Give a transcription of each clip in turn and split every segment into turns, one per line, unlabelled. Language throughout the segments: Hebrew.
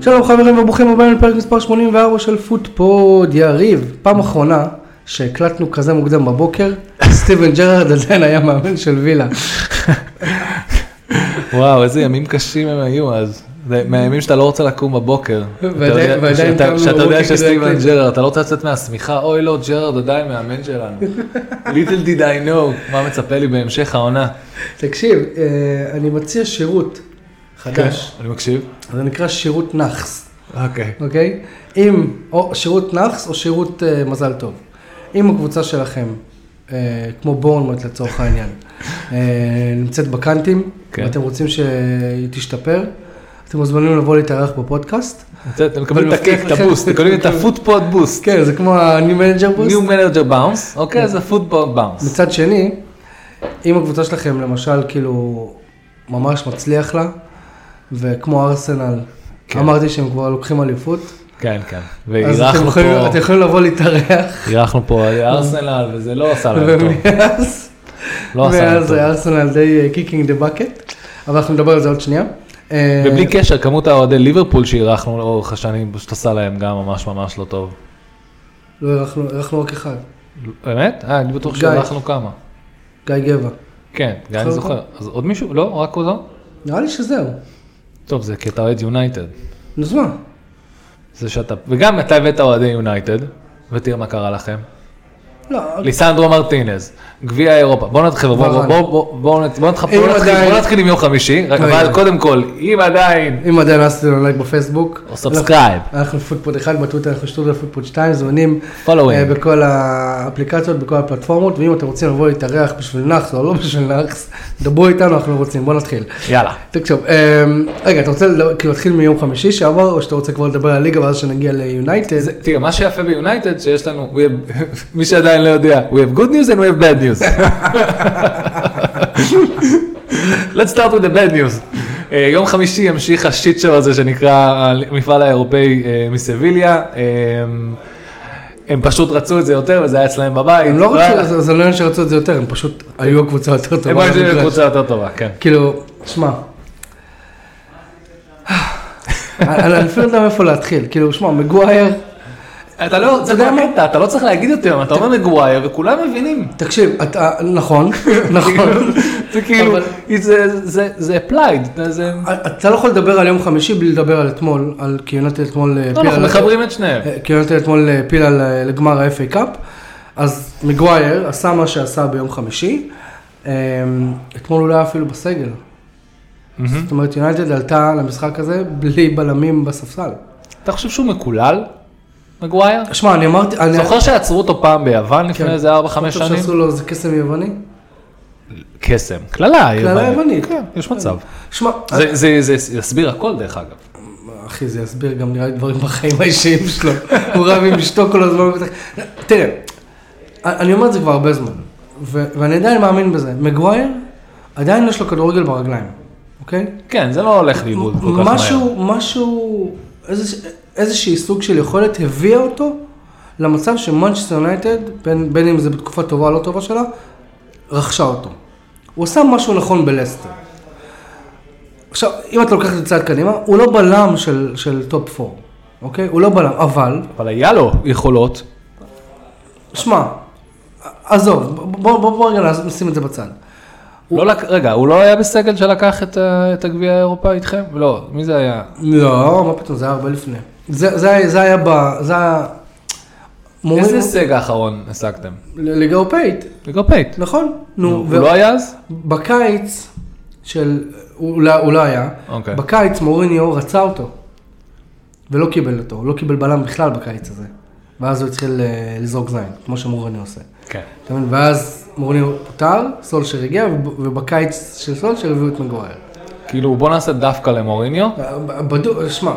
שלום חברים וברוכים הבאים לפרק מספר 84 של פודפוד, יריב, פעם אחרונה שהקלטנו כזה מוקדם בבוקר, סטיבן ג'רארד עדיין היה מאמן של וילה.
וואו, איזה ימים קשים הם היו אז. זה מהימים שאתה לא רוצה לקום בבוקר. אתה
ועדיין-
יודע-
ועדיין
שאתה-
קמנו
שאתה
בבוקר
יודע
כדי
שסטיבן
להקליט.
ג'רארד, אתה לא רוצה לצאת מהשמיכה, אוי לא, ג'רארד עדיין מאמן שלנו. ליטל דיד I know, מה מצפה לי בהמשך העונה.
תקשיב, אה, אני מציע שירות חדש,
כן. אני מקשיב?
זה נקרא שירות נאחס.
אוקיי.
אוקיי? אם, או שירות נאחס או שירות אה, מזל טוב. אם הקבוצה שלכם, אה, כמו בורנמוט לצורך העניין, אה, נמצאת בקאנטים,
כן.
ואתם רוצים שהיא תשתפר, אתם מוזמנים לבוא להתארח בפודקאסט.
אתם מקבלים
אבל
את הקיק, את
מבטיח
הבוסט,
לכם-
אתם מקבלים את הפוטפוד בוסט.
כן, זה כמו ה-New Manager Boost.
New Manager Bounce, אוקיי, אז הפוטפוד Bounce.
מצד שני, אם הקבוצה שלכם למשל כאילו ממש מצליח לה, וכמו ארסנל,
כן.
אמרתי שהם כבר לוקחים אליפות,
כן, כן.
אז אתם
ואירחנו
יכולים, אתם
פה,
יכולים לבוא להתארח,
אירחנו פה ארסנל, וזה לא עשה להם טוב.
ומאז...
לא עשה להם
ואז
טוב.
ארסנל די אה, קיקינג דה בקט, אבל אנחנו נדבר על זה עוד שנייה. אה,
ובלי קשר, כמות האוהדי ליברפול שאירחנו לאורך השנים, פשוט עשה להם גם ממש ממש לא טוב.
לא, אירחנו אירחנו רק אחד,
באמת? אה, אני בטוח
גיא.
שאירחנו כמה.
גיא גבע.
כן, גם אני
זוכר
זוכר. אז עוד מישהו? לא? רק הוא לא?
נראה לי שזהו,
טוב, זה כי אתה אוהד יונייטד.
נו אז מה?
זה שאתה... וגם אתה הבאת אוהדי יונייטד, ותראה מה קרה לכם.
לא,
ליסנדרו מרטינז, גביע אירופה. בואו נתחיל, בואו
ורן.
בואו- בואו- בואו נת- בואו נתחיל-
אם
בואו נתחיל-
עדיין-
בואו נתחיל עם יום חמישי, רק-
רגע.
אבל קודם כל, אם עדיין...
אם עדיין לא עשיתם לנו לייק בפייסבוק.
או סאבסקרייב.
אנחנו- אנחנו פודפוד 1 בטוויטר, אנחנו שטות פודפוד 2, זמנים אה,
following.
בכל האפליקציות, בכל הפלטפורמות, ואם אתם רוצים לבוא להתארח בשביל נאחס או לא בשביל נאחס, דברו איתנו, אנחנו רוצים, בואו נתחיל.
יאללה.
תקשיב, אה, רגע, אתה רוצה לדבר- כאילו להתחיל מיום חמישי שעבר, או שאתה רוצה כבר לדבר על הליגה ואז שנגיע ליונייטד?
זה- תראה, מה שיפה ביונייטד, שיש לנו, we have- מי שעדיין לא יודע, we have good news and we have bad news. Let's start with the bad news. אה, יום חמישי ימשיך השיט שלו הזה שנקרא המפעל האירופאי אה, מסביליה. אה, הם פשוט רצו את זה יותר וזה היה אצלם בבית.
הם לא
היה-
רצו, זה- לא זה לא עניין שרצו את זה יותר, הם פשוט היו הקבוצה יותר טובה.
הם היו
במגרש.
קבוצה יותר טובה, כן.
כאילו, שמע. אני אני אפילו לא יודע מאיפה להתחיל, כאילו, שמע, מגווייר,
אתה לא, זה
יודע מה?
הקטע, אתה לא צריך להגיד יותר, אתה אומר מגווייר וכולם מבינים.
תקשיב, אתה, נכון, נכון,
זה כאילו,
אבל-
זה- זה- זה applied, זה...
אתה לא יכול לדבר על יום חמישי בלי לדבר על אתמול, על כי יונתן אתמול אה,
לא,
פיל
אנחנו
על-
מחברים את שניהם.
אה, כי יונתן אתמול אה, פיל על אה, לגמר ה-FA קאפ, אז מגווייר עשה מה שעשה ביום חמישי, אה, אתמול הוא לא היה אפילו בסגל,
מהמם.
זאת אומרת יונתן עלתה למשחק הזה בלי בלמים בספסל.
אתה חושב שהוא מקולל, מגווייר?
שמע, אני אמרתי, אני
זוכר שעצרו אותו פעם ביוון
כן.
לפני איזה 4-5
חושב
שנים?
שעשו לו איזה קסם יווני?
קסם, קללה
קללה יוונית.
כן, יש מצב.
שמע,
זה- זה- זה יסביר הכל דרך אגב.
אחי, זה יסביר גם נראה לי דברים בחיים האישיים שלו. הוא רב עם אשתו כל הזמן. תראה, אני אומר את זה כבר הרבה זמן, ו- ואני עדיין מאמין בזה. מגווייר, עדיין יש לו כדורגל ברגליים, אוקיי?
כן, זה לא הולך לאיבוד כל כך מהר.
משהו, משהו, איזוש- איזשהי סוג של יכולת הביאה אותו למצב שמנצ'סטר יונייטד, בין, בין אם זה בתקופה טובה או לא טובה שלה, רכשה אותו. הוא עשה משהו נכון בלסטר. עכשיו, אם אתה לוקח את זה צעד קדימה, הוא לא בלם של, של טופ 4, אוקיי? הוא לא בלם, אבל,
אבל היה לו יכולות.
שמע, עזוב, בוא, בוא, בוא רגע נשים את זה בצד.
לא לק- רגע, הוא לא היה בסגל שלקח את ה- את הגביע האירופאי איתכם? לא, מי זה היה?
לא, מה פתאום, זה היה הרבה לפני. זה, זה, זה היה ב... זה היה...
איזה
מורינו-
הישג האחרון השגתם?
לליגה אירופאית,
אירופאית.
נכון?
הוא
נו, לא. ו-
לא היה אז?
בקיץ של, הוא לא- הוא לא היה,
אוקיי.
בקיץ מוריניו רצה אותו, ולא קיבל אותו, הוא לא קיבל בלם בכלל בקיץ הזה, ואז הוא התחיל אה, לזרוק זין, כמו שמוריניו עושה.
כן.
אתה מבין? ואז מוריניו פוטר, סולשר הגיע, וב- ובקיץ של סולשר הביאו את מגווייר.
כאילו, בוא נעשה דווקא למוריניו.
אה, בדו- שמע,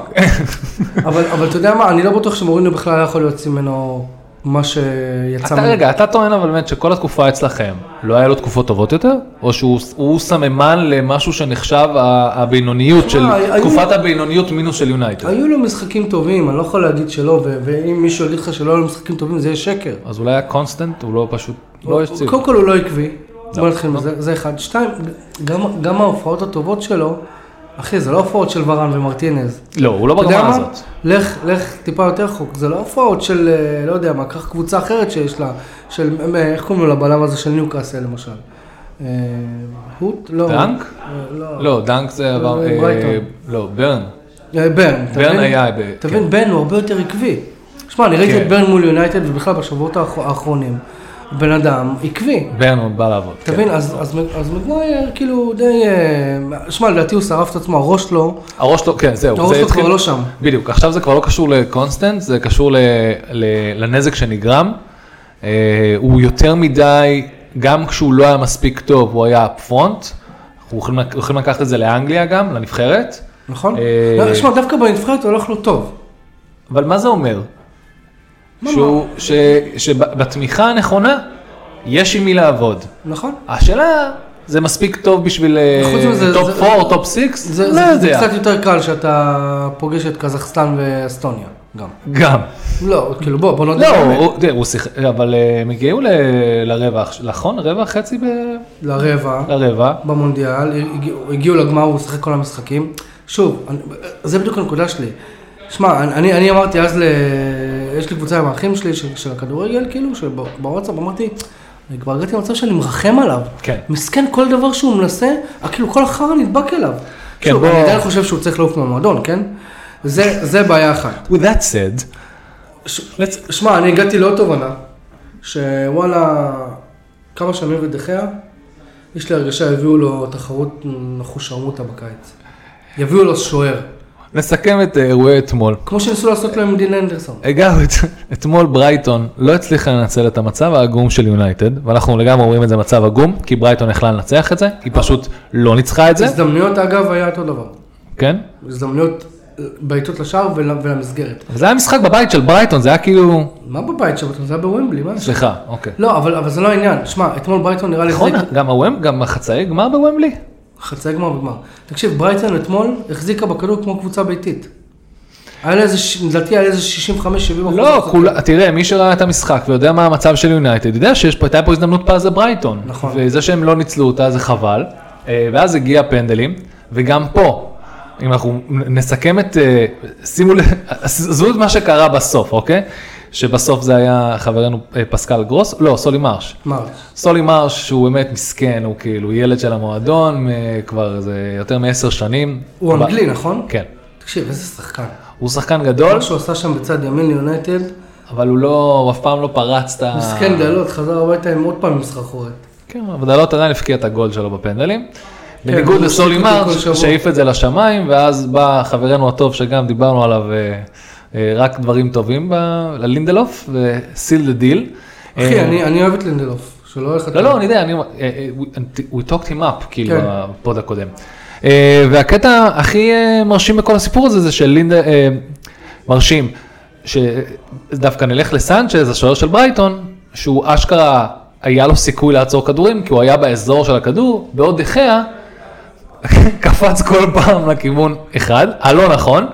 אבל אבל אתה יודע מה, אני לא בטוח שמוריניו בכלל היה יכול להוציא ממנו מה שיצא
אתה רגע, אתה טוען אבל באמת שכל התקופה אצלכם, לא היה לו תקופות טובות יותר? או שהוא הוא סממן למשהו שנחשב ה- הבינוניות של,
שמע, אה, היו-
תקופת הבינוניות מינוס של יונייטד?
כן. היו לו משחקים טובים, אני לא יכול להגיד שלא, ו- ואם מישהו יגיד לך שלא היו לו משחקים טובים, זה יהיה שקר.
אז אולי היה קונסטנט, הוא לא פשוט, לא יציב.
קודם כל הוא לא עקבי, בוא נתחיל מזה, זה אחד. שתיים, גם- גם ההופעות הטובות שלו, אחי, זה לא הופעות של ורן ומרטינז.
לא, הוא לא
אתה יודע
ברמה
מה?
הזאת.
לך, לך טיפה יותר חוק, זה לא הופעות של, אה, לא יודע מה, קח קבוצה אחרת שיש לה, של, אה, איך קוראים לו לבלם הזה של ניוקאסל למשל? אה, הוט? לא.
דנק?
אה, לא.
לא, דנק זה עבר...
אה,
אה,
ברייטון.
לא, ברן.
אה, ברן. אתה
ברן
מבין?
היה... ב-
אתה מבין, בן הוא הרבה יותר עקבי. שמע, אני ראיתי
כן.
את ברן מול יונייטד, ובכלל בשבועות האח- האחרונים, בן אדם עקבי.
כן. ברן הוא בא לעבוד.
אתה
כן.
מבין, אז- אז מג- אז מגווייר כאילו די... אה, שמע, לדעתי הוא שרף את עצמו, הראש שלו,
הראש לא, כן, זהו.
הראש
זה
שלו
התחיל-
כבר לא שם.
בדיוק, עכשיו זה כבר לא קשור לקונסטנט, זה קשור ל, ל, לנזק שנגרם. אה, הוא יותר מדי, גם כשהוא לא היה מספיק טוב, הוא היה פרונט. אנחנו יכולים, לק- יכולים לקחת את זה לאנגליה גם, לנבחרת.
נכון?
אה,
לא, שמע, דווקא בנבחרת הוא הולך לו טוב.
אבל מה זה אומר?
מה, לא?
שהוא, ש, שבתמיכה הנכונה, יש עם מי לעבוד.
נכון?
השאלה, זה מספיק טוב בשביל אה,
חוץ מזה,
טופ
זה-
4, טופ 6?
זה,
לא
זה, זה
יודע.
קצת יותר קל שאתה פוגש את קזחסטן ואסטוניה גם.
גם.
לא, כאילו בוא, בוא נודה.
לא,
באמת.
הוא- תראה, הוא שיחק, אבל אה, הם הגיעו ל- לרבע, עכש- נכון? רבע חצי ב-
לרבע,
לרבע.
במונדיאל, הגיעו- הגיעו לגמר, הוא שיחק כל המשחקים. שוב, אני, זה בדיוק הנקודה שלי. שמע, אני- אני, אני אמרתי אז, ל... יש לי קבוצה עם האחים שלי של, של הכדורגל, כאילו, שבוואטסאפ אמרתי, אני כבר הגעתי למצב שאני מרחם עליו.
כן.
מסכן כל דבר שהוא מנסה, כאילו כל החרא נדבק אליו.
כן,
שוב,
בוא-
אני עדיין חושב שהוא צריך לעוף מהמועדון, כן? זה, זה בעיה אחת.
With that said,
ש- שמע, אני הגעתי לעוד תובנה, שוואלה, כמה שנים ודחיה, יש לי הרגשה יביאו לו תחרות נחושרמוטה בקיץ. יביאו לו שוער,
נסכם את אה, אירועי אתמול.
כמו שניסו לעשות לו עם דין אנדרסון.
אגב, את- אתמול ברייטון לא הצליחה לנצל את המצב העגום של יונייטד, ואנחנו לגמרי אומרים את זה מצב עגום, כי ברייטון יכלה לנצח את זה, היא פשוט לא ניצחה את זה,
הזדמנויות אגב היה אותו דבר.
כן?
הזדמנויות אה, בעיטות לשער ול- ולמסגרת.
אבל זה היה משחק בבית של ברייטון, זה היה כאילו...
מה בבית שבתון? זה היה בוומבלי, מה? יש?
סליחה, אוקיי.
לא, אבל אבל זה לא העניין. שמע, אתמול ברייטון נראה לי...
נכון,
החזיק-
גם הוומב, גם החצאי גמר בוומבלי?
חצי גמר וגמר. תקשיב, ברייטון אתמול החזיקה בכדור כמו קבוצה ביתית. היה לה איזה, ש- לדעתי היה לה איזה 65-70 אחוז.
לא, כול, תראה, מי שראה את המשחק ויודע מה המצב של יונייטד, יודע שיש פה, הייתה פה הזדמנות פז לברייטון.
נכון.
וזה שהם לא ניצלו אותה זה חבל. אה, ואז הגיע הפנדלים, וגם פה, אם אנחנו נסכם את, אה, שימו לב, עזבו את מה שקרה בסוף, אוקיי? שבסוף זה היה חברנו אה, פסקל גרוס, לא, סולי מרש.
מה?
סולי מרש שהוא באמת מסכן, הוא כאילו ילד של המועדון, אה, כבר זה יותר מעשר שנים.
הוא
אבל-
אנגלי, נכון?
כן.
תקשיב, איזה שחקן.
הוא שחקן גדול,
מה שהוא עשה שם בצד ימין ליונייטד,
אבל הוא לא, הוא אף פעם לא פרץ את ה...
מסכן דלות, חזר הביתה עם עוד פעם עם סחרחורת.
כן, אבל דלות עדיין הפקיע את הגול שלו בפנדלים. בניגוד
כן, הוא
לסולי
משחק אותו כל
מרש,
שבוע.
שהעיף את זה לשמיים, ואז בא חברנו הטוב שגם דיברנו עליו, אה, אה, רק דברים טובים ב- ללינדלוף, וסיל דה דיל.
אחי, אני- אני אוהב את לינדלוף, שלא הולך...
אה. לא, לא, אני יודע, אני... אה, אה, we- we talked him up, כאילו,
כן.
בפוד הקודם. אה, והקטע הכי אה, מרשים בכל הסיפור הזה, זה שלינדה... אה, מרשים, שדווקא נלך לסנצ'ז, השוער של ברייטון, שהוא אשכרה, היה לו סיכוי לעצור כדורים, כי הוא היה באזור של הכדור, בעוד דחיה, קפץ כל פעם לכיוון אחד, הלא נכון.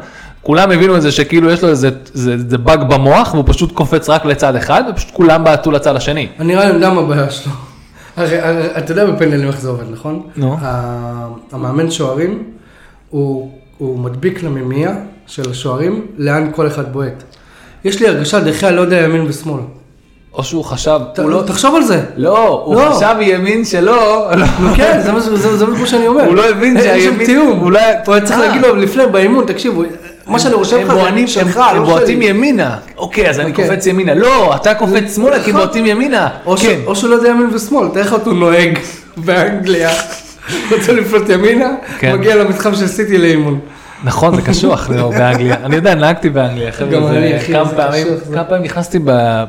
כולם הבינו את זה שכאילו יש לו איזה, איזה, איזה באג במוח והוא פשוט קופץ רק לצד אחד ופשוט כולם בעטו לצד השני.
אני נראה לי יודע מה הבעיה שלו. הרי, הרי אתה יודע בפנדלים איך זה עובד, נכון?
נו.
ה- המאמן שוערים, הוא, הוא מדביק למימייה של השוערים לאן כל אחד בועט. יש לי הרגשה דחיה לא יודע ימין ושמאל.
או שהוא חשב,
ת,
הוא לא,
תחשוב על זה.
לא, הוא
לא.
חשב ימיין שלו, לא.
נו כן, זה מה ש- זה- זה בדיוק מה שאני אומר.
הוא לא הבין
אין
שהימין-
שם תיאום.
אולי-
הוא היה צריך
אה.
להגיד לו לפני, באימון, תקשיבו, מה שאני רושם
הם
לך
בוענים-
זה שלך,
הם- הם
לא
בועטים
שלי.
ימינה. אוקיי, אז אני
אוקיי.
קופץ ימינה. לא, אתה קופץ שמאלה כי
נכון.
בועטים ימינה.
או ש-
כן.
או שהוא לא יודע ימין ושמאל, תאר לך אותו נוהג באנגליה, רוצה לפלוט ימינה,
כן.
מגיע למתחם של סיטי לאימון.
נכון, זה קשוח לא, באנגליה. אני יודע, נהגתי באנגליה, חבר'ה,
גם
זה
אני, אחי,
כמה
זה
פעמים-
קשוח, זה-
כמה פעמים נכנסתי ב...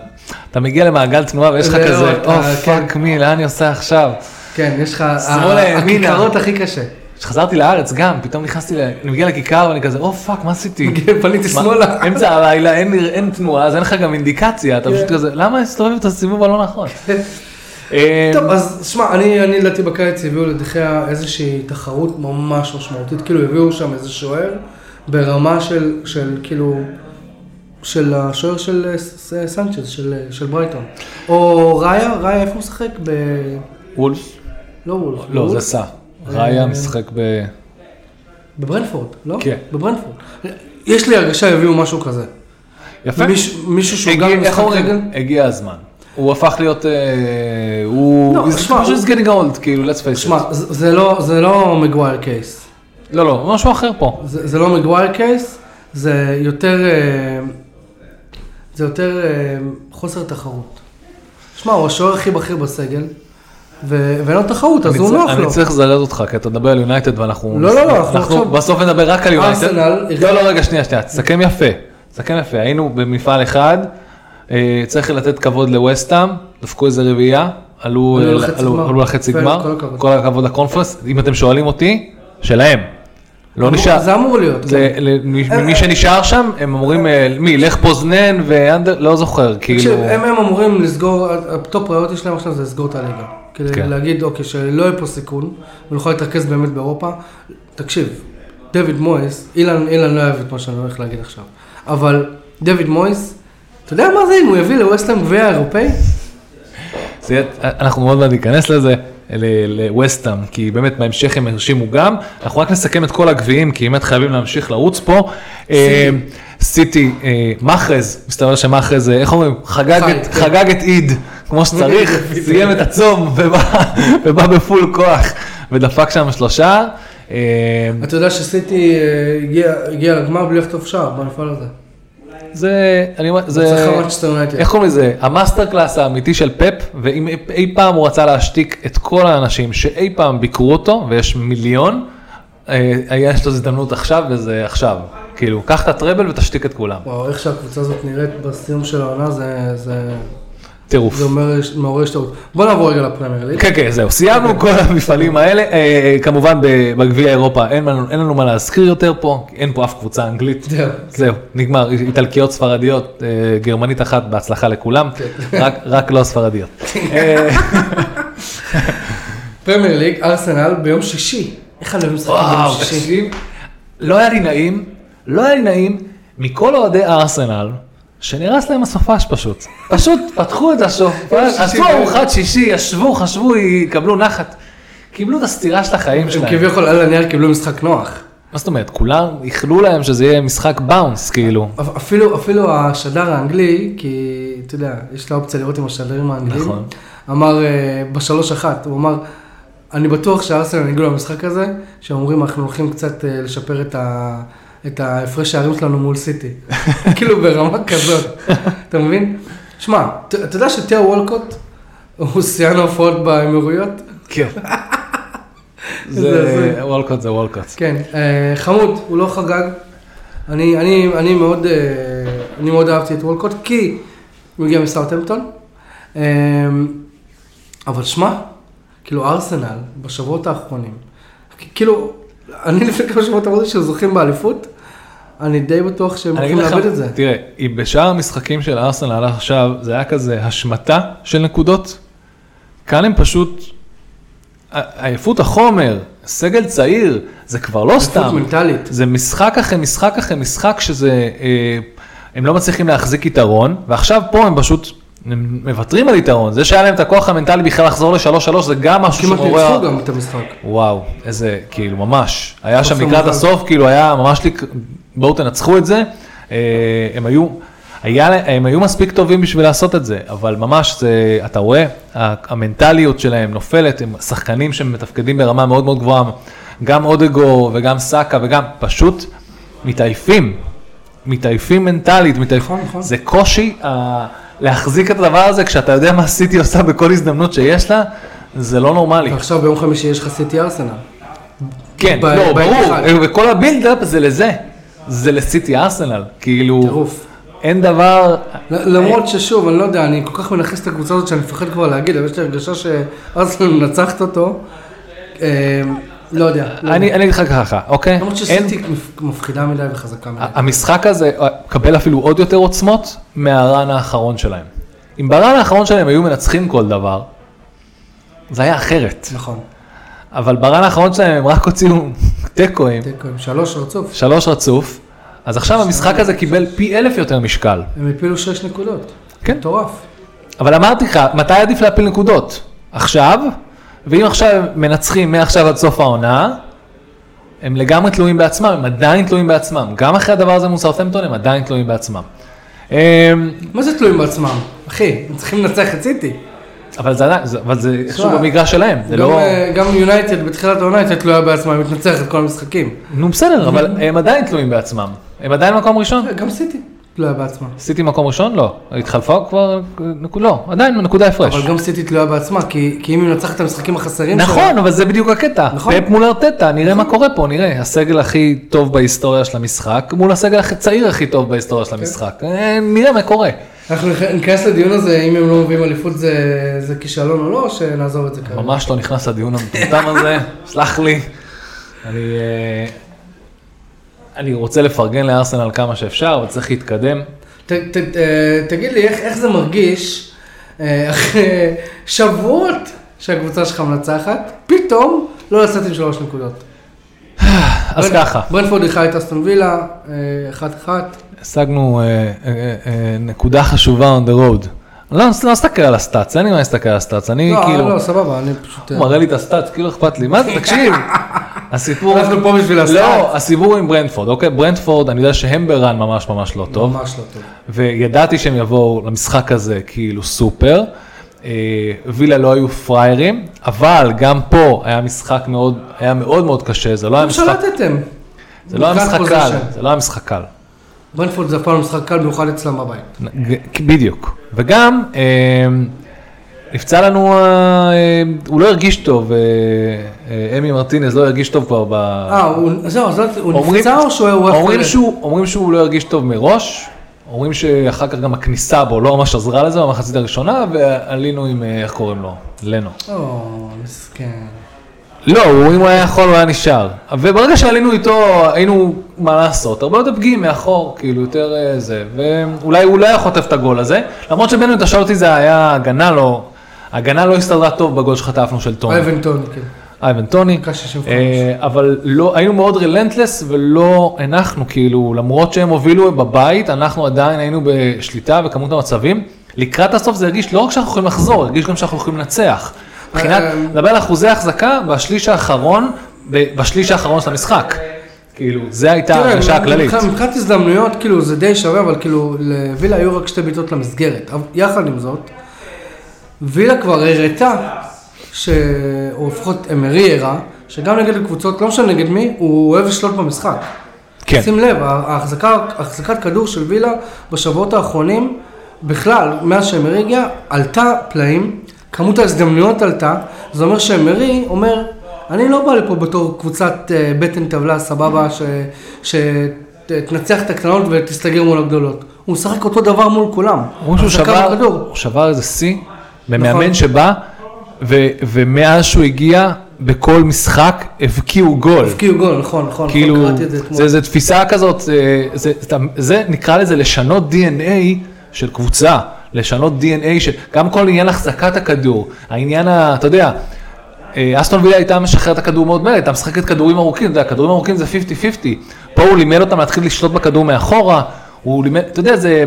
אתה מגיע למעגל תנועה ויש לך
זהו,
כזה,
אתה-
או
כן.
פאק מי, לאן אני עושה עכשיו?
כן, יש לך,
שמאלה,
ה-
ימינה.
הכיכרות הכי קשה.
כשחזרתי לארץ גם, פתאום נכנסתי, ל- אני מגיע לכיכר ואני כזה, או פאק, מה עשיתי?
כן, פניתי
מה-
שמאלה.
אמצע הלילה, אין, אין תנועה, אז אין לך גם אינדיקציה, אתה
כן.
פשוט כזה, למה הסתובב את הסיבוב הלא נכון? אה,
טוב, אז שמע, אני אני לדעתי בקיץ הביאו לדחיה איזושהי תחרות ממש משמעותית, כאילו הביאו שם איזה שוער ברמה של, של כאילו, של השוער של אה, ס- ס- סנצ'ז, של אה, של ברייטון. או ראיה, ראיה איפה הוא משחק? ב...
וולף?
לא וולף.
לא, זה
וולף?
סע.
אה,
ראיה משחק ב...
בברנפורד, לא?
כן.
בברנפורד. יש לי הרגשה יביאו משהו כזה.
יפה.
מיש- מישהו שהוא
הגיע-
גם
איך
משחק
אומרים?
רגל?
הגיע הזמן. הוא הפך להיות, אה, הוא,
לא,
he's-
שמע,
he's getting old, כאילו, let's face it.
שמע, זה זה לא- זה לא מגווייר קייס.
לא, לא, משהו אחר פה.
זה זה לא מגווייר קייס, זה יותר... אה, זה יותר אה, חוסר תחרות. שמע, הוא השוער הכי בכיר בסגל, ו- ואין לו תחרות, אז
אני
הוא
צר-
נוח לו.
אני צריך לזרז אותך, כי אתה מדבר על יונייטד ואנחנו...
לא, לא, לא, אנחנו
אנחנו
עכשיו-
בסוף נדבר רק על יונייטד.
ארסנל-
לא, לא, רגע, שנייה, שנייה, תסכם יפה. תסכם יפה, היינו במפעל אחד, אה, צריך לתת כבוד לווסטאם, דפקו איזה רביעייה, עלו
עלו
אה,
לחצי
עלו-
גמר.
עלו לחצי
יפה,
גמר,
כל הכבוד.
כל הכבוד לקונפרנס, אם אתם שואלים אותי, שלהם. לא
אמור-
נשאר.
זה אמור להיות. כן.
ל- ל- מי- מי שנשאר שם, הם אומרים, אה, מי, לך פוזנן ואנדר, לא זוכר, כאילו,
תקשיב, הם הם אמורים לסגור, הטופ פריוטי שלהם עכשיו זה לסגור את הליגה. כדי
כן.
להגיד, אוקיי, שלא יהיה פה סיכון, ונוכל להתרכז באמת באירופה. תקשיב, דויד מויס, אילן אילן לא אוהב את מה שאני הולך להגיד עכשיו, אבל דויד מויס, אתה יודע מה זה אם הוא יביא לווסטהאם גביע אירופאי?
זה יהיה- אנחנו מאוד מעט ניכנס לזה, ל- לווסטאם, כי באמת בהמשך הם הרשימו גם, אנחנו רק נסכם את כל הגביעים, כי באמת חייבים להמשיך לרוץ פה. אה, סיטי, אה, מאחז, מסתבר שמאחז, אה, איך אומרים, חגג
חי,
את-
כן.
חגג את עיד, כמו שצריך, סיים את הצום ובא- ובא בפול כוח, ודפק שם שלושה. אה,
אתה יודע שסיטי אה, הגיע- הגיע לגמר בלי לחטוף שער במפעל הזה.
זה, אני אומר, זה,
צריך לראות שאתה יונייטד.
איך קוראים לזה, המאסטר קלאס האמיתי של פפ, ואם אי פעם הוא רצה להשתיק את כל האנשים שאי פעם ביקרו אותו, ויש מיליון, אה, היה יש לו הזדמנות עכשיו, וזה עכשיו. כאילו, קח את הטראבל ותשתיק את כולם.
וואו, איך שהקבוצה הזאת נראית בסיום של העונה, זה- זה
טירוף.
זה אומר- מעורר השתאות. בוא נעבור רגע לפרמייר ליג.
כן, כן, זהו, סיימנו כל המפעלים האלה, אה, כמובן ב- בגביע אירופה, אין לנו- אין לנו מה להזכיר יותר פה, כי אין פה אף קבוצה אנגלית.
זהו.
זהו, נגמר, איטלקיות, ספרדיות, אה, גרמנית אחת, בהצלחה לכולם, רק- רק לא ספרדיות. אה,
פרמייר ליג, ארסנל ביום שישי. איך אני אוהב משחקים
וואו,
ביום שישי?
תקשיב, לא היה לי נעים, לא היה לי נעים מכל אוהדי ארסנל, שנהרס להם הסופש פשוט. פשוט פתחו את השופ, עשו
בערב.
ארוחת שישי, ישבו, חשבו, יקבלו נחת. קיבלו את הסטירה של החיים
הם
שלהם.
כביכול על הנייר קיבלו משחק נוח.
מה זאת אומרת, כולם איחלו להם שזה יהיה משחק באונס, כאילו.
אפ- אפילו, אפילו השדר האנגלי, כי אתה יודע, יש את האופציה לראות עם השדרים האנגלים,
נכון.
אמר אה, בשלוש אחת, הוא אמר, אני בטוח שארסנל הגיעו למשחק הזה, שהם אומרים, אנחנו הולכים קצת אה, לשפר את ה... את ההפרש שערים שלנו מול סיטי, כאילו ברמה כזאת, אתה מבין? שמע, ת- אתה יודע שתיאו וולקוט הוא שיאן ההופעות באמירויות?
כן.
זה
זה
הזוי.
וולקוט זה וולקוט.
כן, אה, חמוד, הוא לא חגג. אני, אני, אני, מאוד, אה, אני מאוד אהבתי את וולקוט, כי הוא הגיע מסאוטהמפטון. אה, אבל שמע, כאילו ארסנל, בשבועות האחרונים, כ- כאילו, אני לפני כמה שבועות אמרתי שהם זוכים באליפות, אני די בטוח שהם
אני
הולכים
אגיד לך,
לאבד את זה.
תראה, אם בשאר המשחקים של ארסנל עד עכשיו, זה היה כזה השמטה של נקודות, כאן הם פשוט, ע- עייפות החומר, סגל צעיר, זה כבר לא
עייפות
סתם,
מנטלית.
זה משחק אחרי משחק אחרי משחק שזה, אה, הם לא מצליחים להחזיק יתרון, ועכשיו פה הם פשוט... הם מוותרים על יתרון, זה שהיה להם את הכוח המנטלי בכלל לחזור לשלוש שלוש זה גם משהו
כמעט
שמעורר...
ניצחו גם את המשחק.
וואו, איזה, כאילו, ממש. היה שם
חוסר
לקראת
מזל.
הסוף, כאילו, היה ממש, לק- בואו תנצחו את זה. אה, הם היו, היה, לה- הם היו מספיק טובים בשביל לעשות את זה, אבל ממש, זה, אתה רואה, ה- המנטליות שלהם נופלת, הם שחקנים שמתפקדים ברמה מאוד מאוד גבוהה, גם אודגו וגם סאקה וגם פשוט מתעייפים, מתעייפים מנטלית, מתעייפים.
נכון, נכון.
זה קושי אה, להחזיק את הדבר הזה כשאתה יודע מה סיטי עושה בכל הזדמנות שיש לה, זה לא נורמלי.
ועכשיו ביום חמישי יש לך סיטי ארסנל.
כן,
ב-
לא,
בעת
ברור,
אחת.
וכל הבילדאפ זה לזה, זה לסיטי ארסנל, כאילו,
טירוף.
אין דבר,
ל- למרות ששוב, אני לא יודע, אני כל כך מנכס את הקבוצה הזאת שאני מפחד כבר להגיד, אבל יש לי הרגשה שארסנל מנצחת אותו. אה, לא יודע. לא
אני
יודע.
אני אגיד לך ככה, אוקיי?
למרות
אין-
שסיטי מפ- מפחידה מדי וחזקה מדי.
המשחק הזה קבל אפילו עוד יותר עוצמות מהרן האחרון שלהם. אם ברן האחרון שלהם היו מנצחים כל דבר, זה היה אחרת,
נכון.
אבל ברן האחרון שלהם הם רק הוציאו תיקואים,
תיקו עם שלוש רצוף.
שלוש רצוף, אז עכשיו המשחק הזה קיבל פי אלף יותר משקל.
הם הפילו שש נקודות.
כן.
מטורף.
אבל אמרתי לך, מתי עדיף להפיל נקודות? עכשיו, ואם עכשיו מנצחים מעכשיו עד סוף העונה, הם לגמרי תלויים בעצמם, הם עדיין תלויים בעצמם. גם אחרי הדבר הזה מול סאוטהמפטון, הם עדיין תלויים בעצמם. אמ,
מה זה תלויים בעצמם? אחי, הם צריכים לנצח את סיטי.
אבל זה עדיין, זה- אבל זה איכשהו
תשמע,
במגרש שלהם, זה
גם,
לא...
אה, גם יונייטד בתחילת העונה הייתה תלויה בעצמה, היא מתנצחת כל המשחקים.
נו בסדר, אבל הם עדיין תלויים בעצמם. הם עדיין מקום ראשון?
גם סיטי תלויה בעצמה.
סיטי מקום ראשון? לא. התחלפה כבר? נקו- לא, עדיין נקודה הפרש.
אבל גם סיטי תלויה בעצמה, כי, כי אם היא מנצחת את המשחקים החסרים
נכון, אבל זה בדיוק הקטע.
נכון.
פאפ מול ארטטה, נראה מה קורה פה, נראה. הסגל הכי טוב בהיסטוריה של המשחק, מול הסגל הצעיר הכי טוב בהיסטוריה
כן.
של המשחק. אה, נראה מה קורה.
אנחנו נכ- ניכנס לדיון הזה, אם הם לא מביאים אליפות זה, זה כישלון או לא, או שנעזוב את זה כרגע.
ממש לא נכנס לדיון המטומטם הזה, סלח לי. אני, אה, אני רוצה לפרגן לארסנל כמה שאפשר, אבל צריך להתקדם.
ת, ת, אה, תגיד לי, איך, איך זה מרגיש אה, אחרי שבועות שהקבוצה שלך מנצחת, פתאום לא לצאת עם שלוש נקודות.
אז
אוקיי.
ככה.
ברנפורד איכה את אסטון וילה, אה, אחת אחת.
השגנו אה, אה, אה, נקודה חשובה on the road. אני לא לא אסתכל על הסטאצ, אין לי מה להסתכל על הסטאצ, אני
לא,
כאילו,
לא, סבבה, אני פשוט... אה,
הוא מראה לי את הסטאצ, כאילו אכפת לי, מה זה, תקשיב, הסיפור,
אנחנו פה בשביל הסטאצ.
לא, הסיפור עם ברנדפורד, אוקיי, ברנדפורד, אני יודע שהם ברן ממש ממש לא טוב,
ממש לא טוב.
וידעתי שהם יבואו למשחק הזה כאילו סופר. אה, וילה לא היו פראיירים, אבל גם פה היה משחק מאוד, היה מאוד מאוד קשה, זה לא היה
אתם
משחק,
שלטתם.
זה לא היה
מבחינת
משחק קל,
position.
זה לא היה משחק קל.
ברנפורד זה אף פעם לא משחק קל, במיוחד אצלם בבית.
אה. ג- בדיוק. וגם, אה, נפצע לנו, ה- אה, הוא לא הרגיש טוב, אה, אה, אמי מרטינז לא הרגיש טוב כבר ב...
אה, הוא- זהו, אז לא- הוא
אומרים-
נפצע או שהוא היה
אומרים
חולה?
שהוא, אומרים שהוא לא הרגיש טוב מראש, אומרים שאחר כך גם הכניסה בו לא ממש עזרה לזה במחצית הראשונה, ועלינו עם, אה, איך קוראים לו? לנו.
או, מסכן.
לא, הוא- אם הוא היה יכול הוא היה נשאר. וברגע שעלינו איתו, היינו, מה לעשות, הרבה יותר פגיעים מאחור, כאילו יותר אה, זה, ואולי הוא לא היה חוטף את הגול הזה, למרות שבינינו, אם אתה שואל אותי, זה היה הגנה לא, הגנה לא הסתדרה טוב בגול שחטפנו של טוני,
אייבנטון, כן.
אייבן טוני,
דקה 65.
אה, אבל לא, היינו מאוד רילנטלס ולא הנחנו, כאילו, למרות שהם הובילו בבית, אנחנו עדיין היינו בשליטה וכמות המצבים, לקראת הסוף זה הרגיש לא רק שאנחנו יכולים לחזור, הרגיש גם שאנחנו יכולים לנצח. מבחינת,
אה,
מדבר על אחוזי החזקה בשליש האחרון, ב- בשליש האחרון של המשחק. כאילו, זה הייתה
תראה,
ההרגשה הכללית.
מבחינת- מבחינת הזדמנויות, כאילו, זה די שווה, אבל כאילו, לווילה היו רק שתי בעיטות למסגרת. אבל יחד עם זאת, וילה כבר הראתה, ש... או לפחות אמרי הראה, שגם נגד הקבוצות, לא משנה נגד מי, הוא אוהב לשלוט במשחק.
כן.
שים לב, ההחזקה, החזקת כדור של וילה בשבועות האחרונים, בכלל, מאז שאמרי הגיע, עלתה פלאים, כמות ההזדמנויות עלתה, זה אומר שאמרי אומר, אני לא בא לפה בתור קבוצת אה, בטן טבלה סבבה, שתנצח את הקטנות ותסתגר מול הגדולות. הוא משחק אותו דבר מול כולם.
אומרים שהוא
החזקה
שבר,
בכדור.
הוא שבר איזה שיא, במאמן
נכון.
שבא, ו- ומאז שהוא הגיע, בכל משחק הבקיעו גול.
הבקיעו גול, נכון, נכון,
כאילו,
נכון, קראתי את זה אתמול.
זה, זה תפיסה כזאת, אה, זה, זה, זה נקרא לזה לשנות DNA של קבוצה, לשנות DNA של, גם כל עניין החזקת הכדור, העניין, ה, אתה יודע, אה, אסטון וילה הייתה משחררת את הכדור מאוד מהר, הייתה משחקת כדורים ארוכים, אתה יודע, כדורים ארוכים זה 50-50, פה הוא לימד אותם להתחיל לשלוט בכדור מאחורה, הוא לימד, אתה יודע, זה,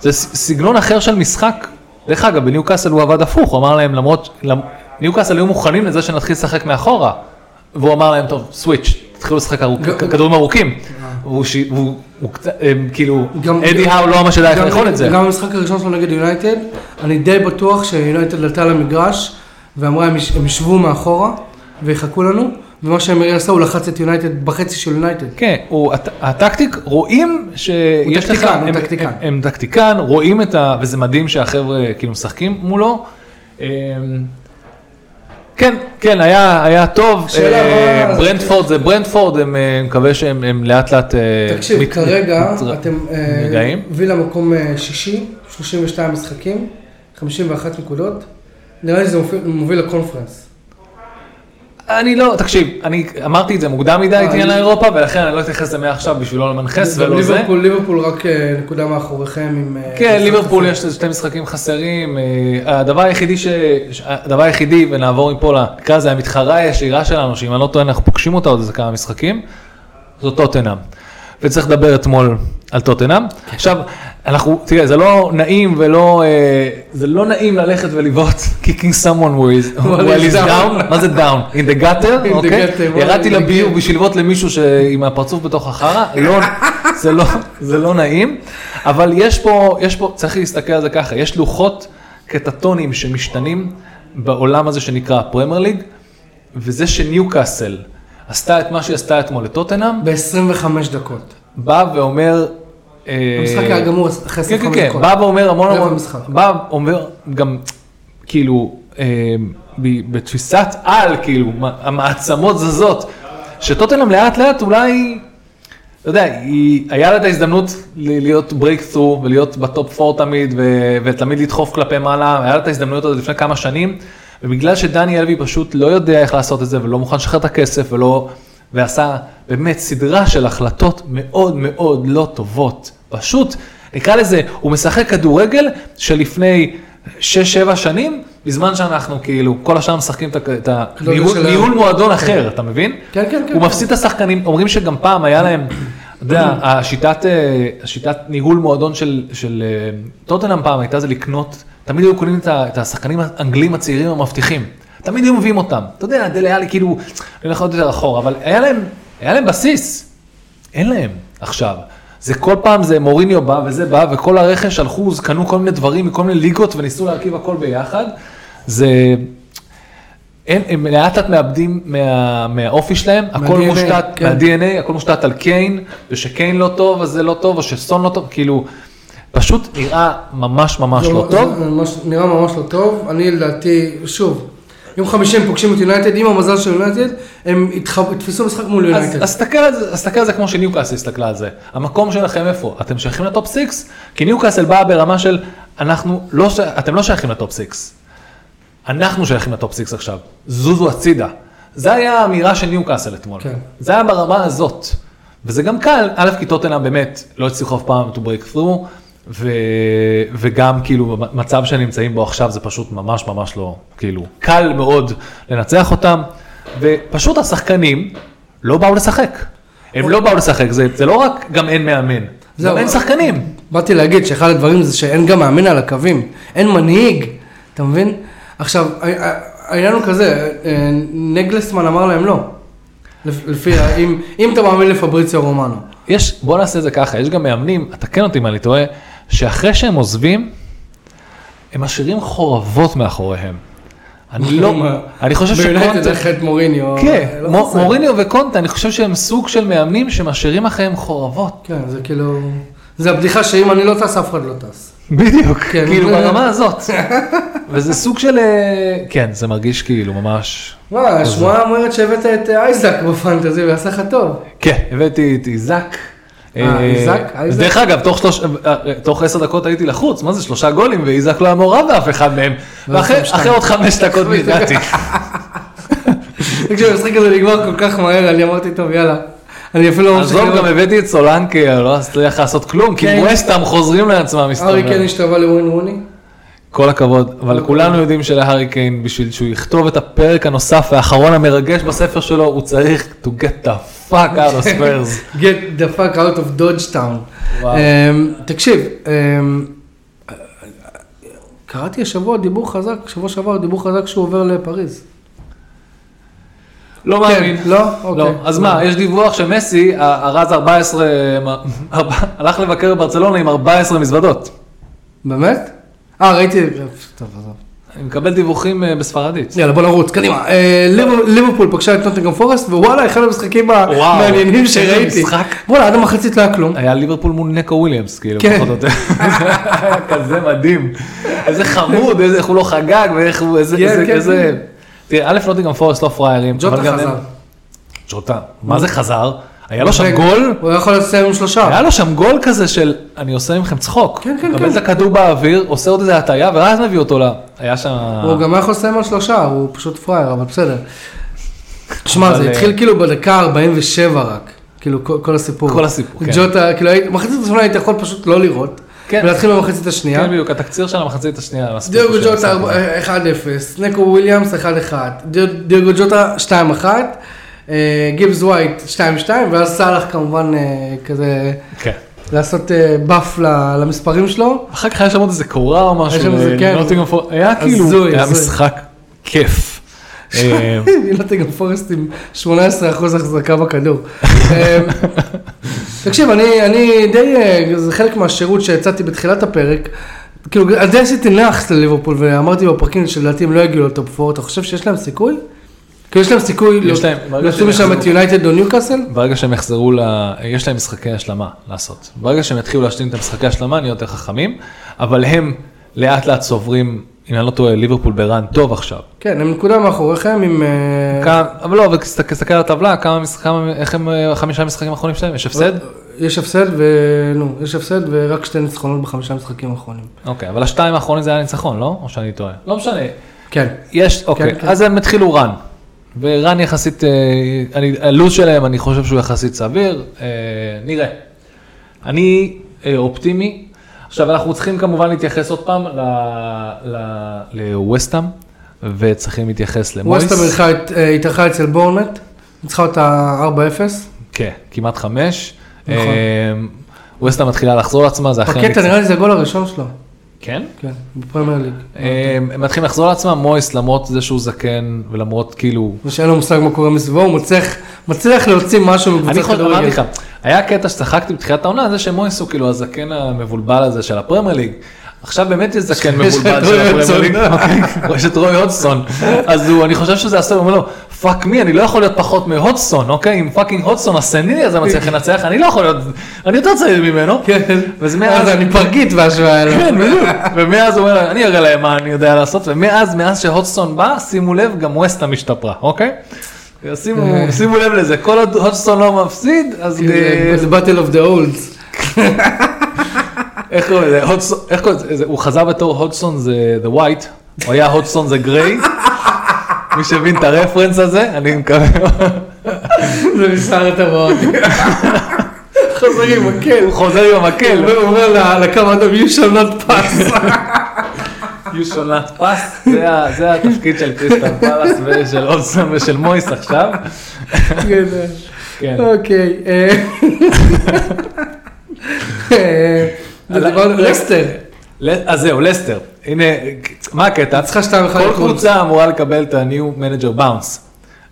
זה ס- סגנון אחר של משחק, דרך אגב, בניוקאסל הוא עבד הפוך, הוא אמר להם, למרות, למ- ניוקאסל היו מוכנים לזה שנתחיל לשחק מאחורה, והוא אמר להם, טוב, סוויץ', תתחילו לשחק ארוך,
ג-
כדורים ארוכים. והוא ש- והוא הוא קצת, הם כאילו,
אה. גם-
אדי האו לא ממש ידע איך
גם-
לאכול את זה.
גם במשחק הראשון שלו נגד יונייטד, אני די בטוח שיונייטד עלתה למגרש ואמרה הם יש- הם ישבו מאחורה ויחכו לנו, ומה שאמרי עשה הוא לחץ את יונייטד בחצי של יונייטד.
כן, הוא- הט- הטקטיק, רואים
הוא
שיש לך,
טקטיקן, הוא
הם-
טקטיקן.
הם- הם טקטיקן, רואים את ה... וזה מדהים שהחבר'ה כאילו משחקים מולו. אמ, כן, כן, היה היה טוב,
שאלה,
אה,
מה-
ברנדפורד זה ברנדפורד, הם, אה, מקווה שהם הם לאט לאט... אה,
תקשיב,
מת-
כרגע
מת-
אתם, אה,
מתגאים.
וילה מקום אה, שישי, 32 משחקים, 51 נקודות, נראה לי זה מופיע- מוביל לקונפרנס.
אני לא, תקשיב, אני אמרתי את זה מוקדם מדי, את
לא, אני-
עניין האירופה, ולכן אני לא אתייחס לזה מעכשיו בשביל לא למנחס
גם
ולא זה.
ליברפול- ליברפול רק אה, נקודה מאחוריכם עם... אה,
כן,
משחק
ליברפול
חסר.
יש לזה שתי משחקים חסרים. אה, הדבר היחידי, ש... ש- הדבר היחידי, ונעבור מפה, ל- נקרא לזה המתחרה הישירה שלנו, שאם אני לא טועה, אנחנו פוגשים אותה עוד איזה כמה משחקים, זו טוטנאם. וצריך לדבר אתמול על טוטנאם.
כן.
עכשיו, אנחנו, תראה, זה לא נעים ולא, אה, זה לא נעים ללכת ולבעוט kicking someone who is,
is
well is
down."
down, מה זה down? in
In
the gutter,
the
אוקיי?
gutter, well,
ירדתי
in the
לביוב
gutter.
בשביל לבעוט למישהו שעם הפרצוף בתוך החרא, לא, זה לא, זה לא נעים, אבל יש פה, יש פה, צריך להסתכל על זה ככה, יש לוחות קטטונים שמשתנים בעולם הזה שנקרא הפרמייר ליג, וזה שניוקאסל עשתה את מה שהיא עשתה אתמול לטוטנאם,
ב-25 דקות.
בא ואומר... אה,
המשחק היה גמור אחרי
כן,
25
כן,
דקות.
כן, בא ואומר המון
רבע
המון,
משחק.
בא ואומר גם, כאילו, אה, ב- בתפיסת על, כאילו, מה- המעצמות זזות, שטוטנאם לאט לאט אולי, אתה יודע, היא, היה לה את ההזדמנות ל- להיות ברייקסטרו ולהיות בטופ 4 תמיד, ו- ותמיד לדחוף כלפי מעלה, היה לה את ההזדמנות הזאת לפני כמה שנים, ובגלל שדני אלבי פשוט לא יודע איך לעשות את זה, ולא מוכן לשחרר את הכסף, ולא, ועשה באמת סדרה של החלטות מאוד מאוד לא טובות. פשוט, נקרא לזה, הוא משחק כדורגל שלפני 6-7 שנים, בזמן שאנחנו כאילו, כל השאר משחקים את ה- את ה...
כדורגל
ניהול-
של ה-
ניהול מועדון אחר, אתה מבין?
כן, כן, כן.
הוא מפסיד את השחקנים, אומרים שגם פעם היה להם, אתה יודע, השיטת, אה, השיטת ניהול מועדון של, של אה, טוטנאם פעם הייתה זה לקנות, תמיד היו קונים את ה- את השחקנים האנגלים הצעירים המבטיחים, תמיד היו מביאים אותם, אתה יודע, דלה היה לי כאילו, אני הולך עוד יותר אחורה, אבל היה להם, היה להם בסיס, אין להם עכשיו. זה כל פעם זה מוריניו בא וזה בא וכל הרכש הלכו, קנו כל מיני דברים מכל מיני ליגות וניסו להרכיב הכל ביחד. זה, הם, הם לאט לאט מאבדים מה, מהאופי שלהם, הכל
מה-DNA,
מושתת,
כן.
מה-DNA, הכל מושתת על קיין, ושקיין לא טוב, אז זה לא טוב, או שסון לא טוב, כאילו, פשוט נראה ממש ממש
זה-
לא
זה
טוב.
ממש- נראה ממש לא טוב. אני לדעתי, שוב, יום חמישי הם פוגשים את יונייטד, עם המזל של יונייטד, הם התח- יתפסו משחק מול
אז
יונייטד.
אז תסתכל על זה- אז תסתכל על זה כמו שניוקאסל הסתכלה על זה. המקום שלכם איפה? אתם שייכים לטופ 6? כי ניוקאסל באה ברמה של, אנחנו לא, ש- אתם לא שייכים לטופ 6. אנחנו שייכים לטופ 6 עכשיו, זוזו הצידה. זה היה האמירה של ניוקאסל אתמול.
כן.
זה היה ברמה הזאת. וזה גם קל, א', כי טוטנאם באמת לא הצליחו אף פעם to break through, ו... וגם כאילו במצב שנמצאים בו עכשיו זה פשוט ממש ממש לא, כאילו, קל מאוד לנצח אותם, ופשוט השחקנים לא באו לשחק. הם לא באו לשחק, זה, זה לא רק גם אין מאמן,
זהו.
גם אין שחקנים.
באתי להגיד שאחד הדברים זה שאין גם מאמן על הקווים, אין מנהיג, אתה מבין? עכשיו, ה- ה- העניין הוא כזה, אה, נגלסמן אמר להם לא. לפ- לפי, ה- אם- אם אתה מאמין לפבריציו רומנו.
יש, בוא נעשה את זה ככה, יש גם מאמנים, תקן אותי אם אני טועה, שאחרי שהם עוזבים, הם משאירים חורבות מאחוריהם. אני לא, אני חושב
ביונייטד
שקונטה,
אחרי את מוריניו.
כן,
לא
מו-
חסר.
מוריניו וקונטה, אני חושב שהם סוג של מאמנים שמשאירים אחריהם חורבות.
כן, זה כאילו... זה הבדיחה שאם אני לא טס, אף אחד לא טס.
בדיוק,
כן.
כאילו ברמה הזאת. וזה סוג של, אה, כן, זה מרגיש כאילו ממש,
מה, השמועה אומרת שהבאת את אה, אייזק בפנטזי ועשה לך טוב.
כן, הבאתי את איזק.
אה,
אה,
איזק,
אז
איזק.
דרך אגב, תוך שלוש- אה, אה, תוך עשר דקות הייתי לחוץ, מה זה שלושה גולים, ואיזק לא היה מעורב באף אחד מהם. ואחרי
אתם שתיים.
אחרי עוד חמש דקות
חמש דקות.
נרגעתי.
תקשיב, המשחק הזה נגמר כל כך מהר, אני אמרתי, טוב, יאללה. אני אפילו לא
עזוב,
לראות.
גם הבאתי את סולנקי, לא הצליח לעשות כלום, כי
כן.
ווסטאם חוזרים לעצמם,
ארי
מסתבר.
כן השתווה לווין רוני.
כל הכבוד, אבל כולנו יודעים שלהארי קיין, בשביל שהוא יכתוב את הפרק הנוסף והאחרון המרגש בספר שלו, הוא צריך to get the fuck out of
כן.
spurs.
Get the fuck out of Dodge Town.
וואו.
אמ, תקשיב, אמ, קראתי השבוע דיבור חזק, שבוע שעבר דיבור חזק שהוא עובר לפריז.
לא
כן,
מאמין.
לא?
לא,
אוקיי.
אז מה, יש דיווח שמסי, ה- הרז 14, מה- ארבע- הלך לבקר בברצלונה עם 14 מזוודות.
באמת? אה, ראיתי, טוב, עזוב.
אני מקבל דיווחים אה, בספרדית.
יאללה בוא נרוץ, קדימה. אה, ליבר- ליברפול פגשה את נוטינגרם פורסט, ווואלה, אחד המשחקים המעניינים
איזה
שראיתי.
משחק.
וואלה, עד המחצית לא היה כלום.
היה ליברפול מול נקו וויליאמס, כאילו,
כן.
פחות או יותר. היה כזה מדהים. איזה חמוד, איזה- איך הוא לא חגג, ואיך הוא, איזה,
כן,
איזה,
כן,
איזה... תראה, א' נוטינגרם פורסט לא פראיירים. אבל
ג'וטה
גם
חזר.
הם- ג'וטה. מה זה חזר? היה לו שם
רגע,
גול?
הוא יכול לסיים עם שלושה.
היה לו שם גול כזה של אני עושה מכם צחוק.
כן, כן,
מקבל
כן.
את הכדור באוויר, עושה עוד איזה הטעיה, ואז מביא אותו ל... היה שם...
הוא גם היה יכול לסיים על שלושה, הוא פשוט פראייר, אבל בסדר. שמע,
אבל,
זה
אה,
התחיל כאילו בדקה 47 רק. כאילו, כל- כל הסיפור.
כל הסיפור, כן.
ג'וטה, כאילו, היית- מחצית הראשונה היית יכול פשוט לא לראות.
כן.
ולהתחיל במחצית השנייה.
כן, בדיוק, התקציר של המחצית השנייה. מספיק
דייגו
בשביל
ג'וטה
המשחק הזה.
ארבע- 1-0, נקו וויליאמס 1-1, דיו- דייגו ג'וטה 2-1, אה, גיבס ווייט 2-2, ואז סאלח כמובן אה, כזה
כן.
לעשות אה, באף ל- למספרים שלו.
אחר כך היה שם עוד איזה קורה או משהו,
היה שם איזה, כן.
לנוטינגהאם פור- היה כאילו,
הזוי,
היה
הזוי.
משחק כיף. אה,
נוטינגרם פורסט עם 18% החזקה בכדור. אמ, תקשיב, אני, אני די, אה, זה חלק מהשירות שהצעתי בתחילת הפרק. כאילו, אז די עשיתי נאחס לליברפול, ואמרתי בפרקים שלדעתי הם לא יגיעו לטופ 4, אתה חושב שיש להם סיכוי? כאילו, יש להם סיכוי
יש להם, ברגע
להוציא
שהם
משם את
יחזרו.
יונייטד או ניוקאסל?
ברגע שהם יחזרו, ל... יש להם משחקי השלמה לעשות. ברגע שהם יתחילו להשלים את המשחקי השלמה, נהיה יותר חכמים, אבל הם לאט לאט צוברים, אם אני לא טועה, ליברפול בראן טוב עכשיו.
כן, הם נקודה מאחוריכם עם... אה,
כמה, אבל לא, אבל תסת- תסתכל על הטבלה, כמה, מש- כמה, איך הם, אה, חמישה משחקים האחרונים שלהם, יש הפסד?
אה, יש הפסד ו... נו, יש הפסד ורק שתי ניצחונות בחמישה משחקים האחרונים.
אוקיי, אבל השתיים האחרונים זה היה ניצחון, לא? או שאני טועה? לא משנה.
כן.
יש, אוקיי,
כן.
אז הם התחילו רן. ורן יחסית, אה, אני- הלו"ז שלהם, אני חושב שהוא יחסית סביר, אה, נראה. אני אה, אופטימי. עכשיו, אנחנו צריכים כמובן להתייחס עוד פעם לווסטאם, וצריכים להתייחס למויס.
ווסטה התארחה אה, אצל בורנט, ניצחה אותה 4-0.
כן, כמעט חמש.
נכון.
ווסטה מתחילה לחזור לעצמה, זה אכן...
בקטע נראה לי זה הגול הראשון שלו,
כן?
כן, בפרמייר ליג.
אה, הם מתחילים לחזור לעצמם, מויס, למרות זה שהוא זקן, ולמרות כאילו...
זה שאין לו מושג מה קורה מסביבו, הוא מצליח, מצליח להוציא משהו
אני
מקבוצת
חושב, אמרתי
כדורגל.
לך, היה קטע שצחקתי בתחילת העונה, זה שמויס הוא כאילו הזקן המבולבל הזה של הפרמייר ליג. עכשיו באמת יש זקן
יש את
מבולבל של
רוי
הפרמייר
הודסון.
ליג, אוקיי, יש את רוי הודסון, אז הוא, אני חושב שזה עשוי, הוא אומר לו, פאק מי, אני לא יכול להיות פחות מהודסון, אוקיי, אם פאקינג הודסון הסנילי הזה מצליח לנצח, אני לא יכול להיות, אני יותר צעיר ממנו,
כן,
ואז
אז
מאז,
אני פרגית בהשוואה אליו.
כן, בדיוק. ומאז הוא אומר, להם, אני אראה להם מה אני יודע לעשות, ומאז, מאז שהודסון בא, שימו לב, גם ווסטה השתפרה, אוקיי? שימו, שימו לב לזה, כל עוד הודסון לא מפסיד, אז אה,
אה. כן, זה battle of the olds.
איך קוראים לזה, הודסון, איך קוראים לזה, הוא חזר בתור הודסון זה the white, הוא היה הודסון זה גריי, מי שהבין את הרפרנס הזה, אני מקווה,
זה מסער הטבעות. חוזר עם מקל.
הוא חוזר עם המקל,
כן, הוא אומר ל- לקו האדום, you shall not pass.
you shall not pass, זה ה- זה התפקיד של קריסטל פלאס ושל הודסון ושל מויס עכשיו,
כן, אה.
כן.
אוקיי. אה. אה,
על-
דיברנו-
רגע.
לסטר.
ל- אז זהו, לסטר. הנה, מה הקטע?
ניצחה 2-1
כל
את וולפס.
קבוצה אמורה לקבל את ה-new manager bounce.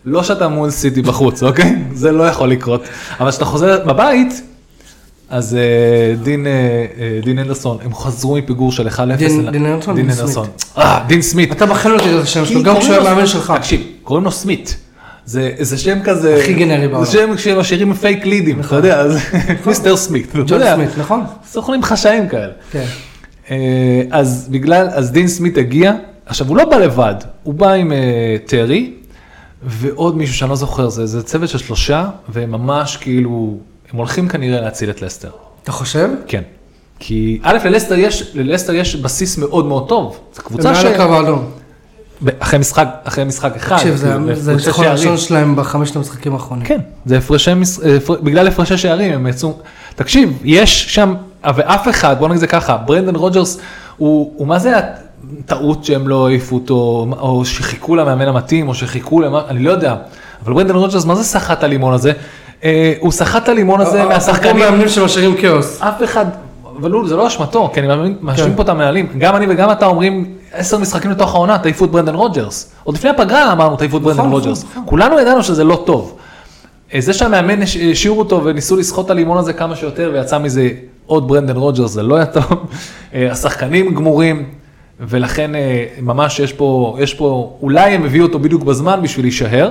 לא שאתה מול סיטי בחוץ, אוקיי? זה לא יכול לקרות. אבל כשאתה חוזר בבית, אז אה, דין, אה, אה, דין אנדרסון, הם חזרו מפיגור של 1-0.
דין-
אלא-
דין אנדרסון?
דין
דין
אנדרסון. אה, דין סמית.
אתה בחן אותי את השם שלו, גם
קוראים
כשהוא
לו-
היה מאמן שלך.
תקשיב, קוראים לו סמית. זה, זה שם כזה,
הכי גנרי בעולם. נכון.
זה שם שמשאירים פייק לידים, אתה יודע, אז מיסטר סמית, אתה
ג'ון
יודע,
סמית, נכון?
סוכנים חשאיים כאלה.
כן.
אה, אז בגלל, אז דין סמית הגיע, עכשיו הוא לא בא לבד, הוא בא עם אה, טרי ועוד מישהו שאני לא זוכר, זה, זה צוות של שלושה, והם ממש כאילו, הם הולכים כנראה להציל את לסטר,
אתה חושב?
כן. כי א', ללסטר יש, ללסטר יש בסיס מאוד מאוד טוב, זו קבוצה
הם
ש...
מעל הקו האדום.
ב- אחרי משחק, אחרי משחק אחד,
תקשיב, זה
כאילו,
זה
בהפרשי
הניצחון
שערים.
הראשון שלהם בחמשת המשחקים האחרונים.
כן, זה הפרשי, מש- אה, הפר- בגלל הפרשי שערים הם יצאו, תקשיב, יש שם, אה, ואף אחד, בוא נגיד זה ככה, ברנדן רוג'רס, הוא, הוא מה זה הטעות שהם לא העיפו אותו, או שחיכו למאמן המתאים, או שחיכו למה, אני לא יודע, אבל ברנדן רוג'רס, מה זה סחט את הלימון הזה? אה, הוא סחט את הלימון הזה
אפרופו
מהשחקנים,
מאמנים שמשאירים כאוס.
אף אחד, אבל הוא- זה לא אשמתו, כי אני מאמין,
כן.
מאשים פה את המנהלים, גם אני וגם אתה אומרים, עשר משחקים לתוך העונה, תעיפו את ברנדן רוג'רס. עוד לפני הפגרה אמרנו, תעיפו את ברנדן
נכון,
רוג'רס.
נכון, נכון.
כולנו ידענו שזה לא טוב. אה, זה שהמאמן הש- השאירו אותו וניסו לסחוט את הלימון הזה כמה שיותר, ויצא מזה עוד ברנדן רוג'רס, זה לא היה טוב. אה, השחקנים גמורים, ולכן אה, ממש יש פה, יש פה, אולי הם הביאו אותו בדיוק בזמן בשביל להישאר.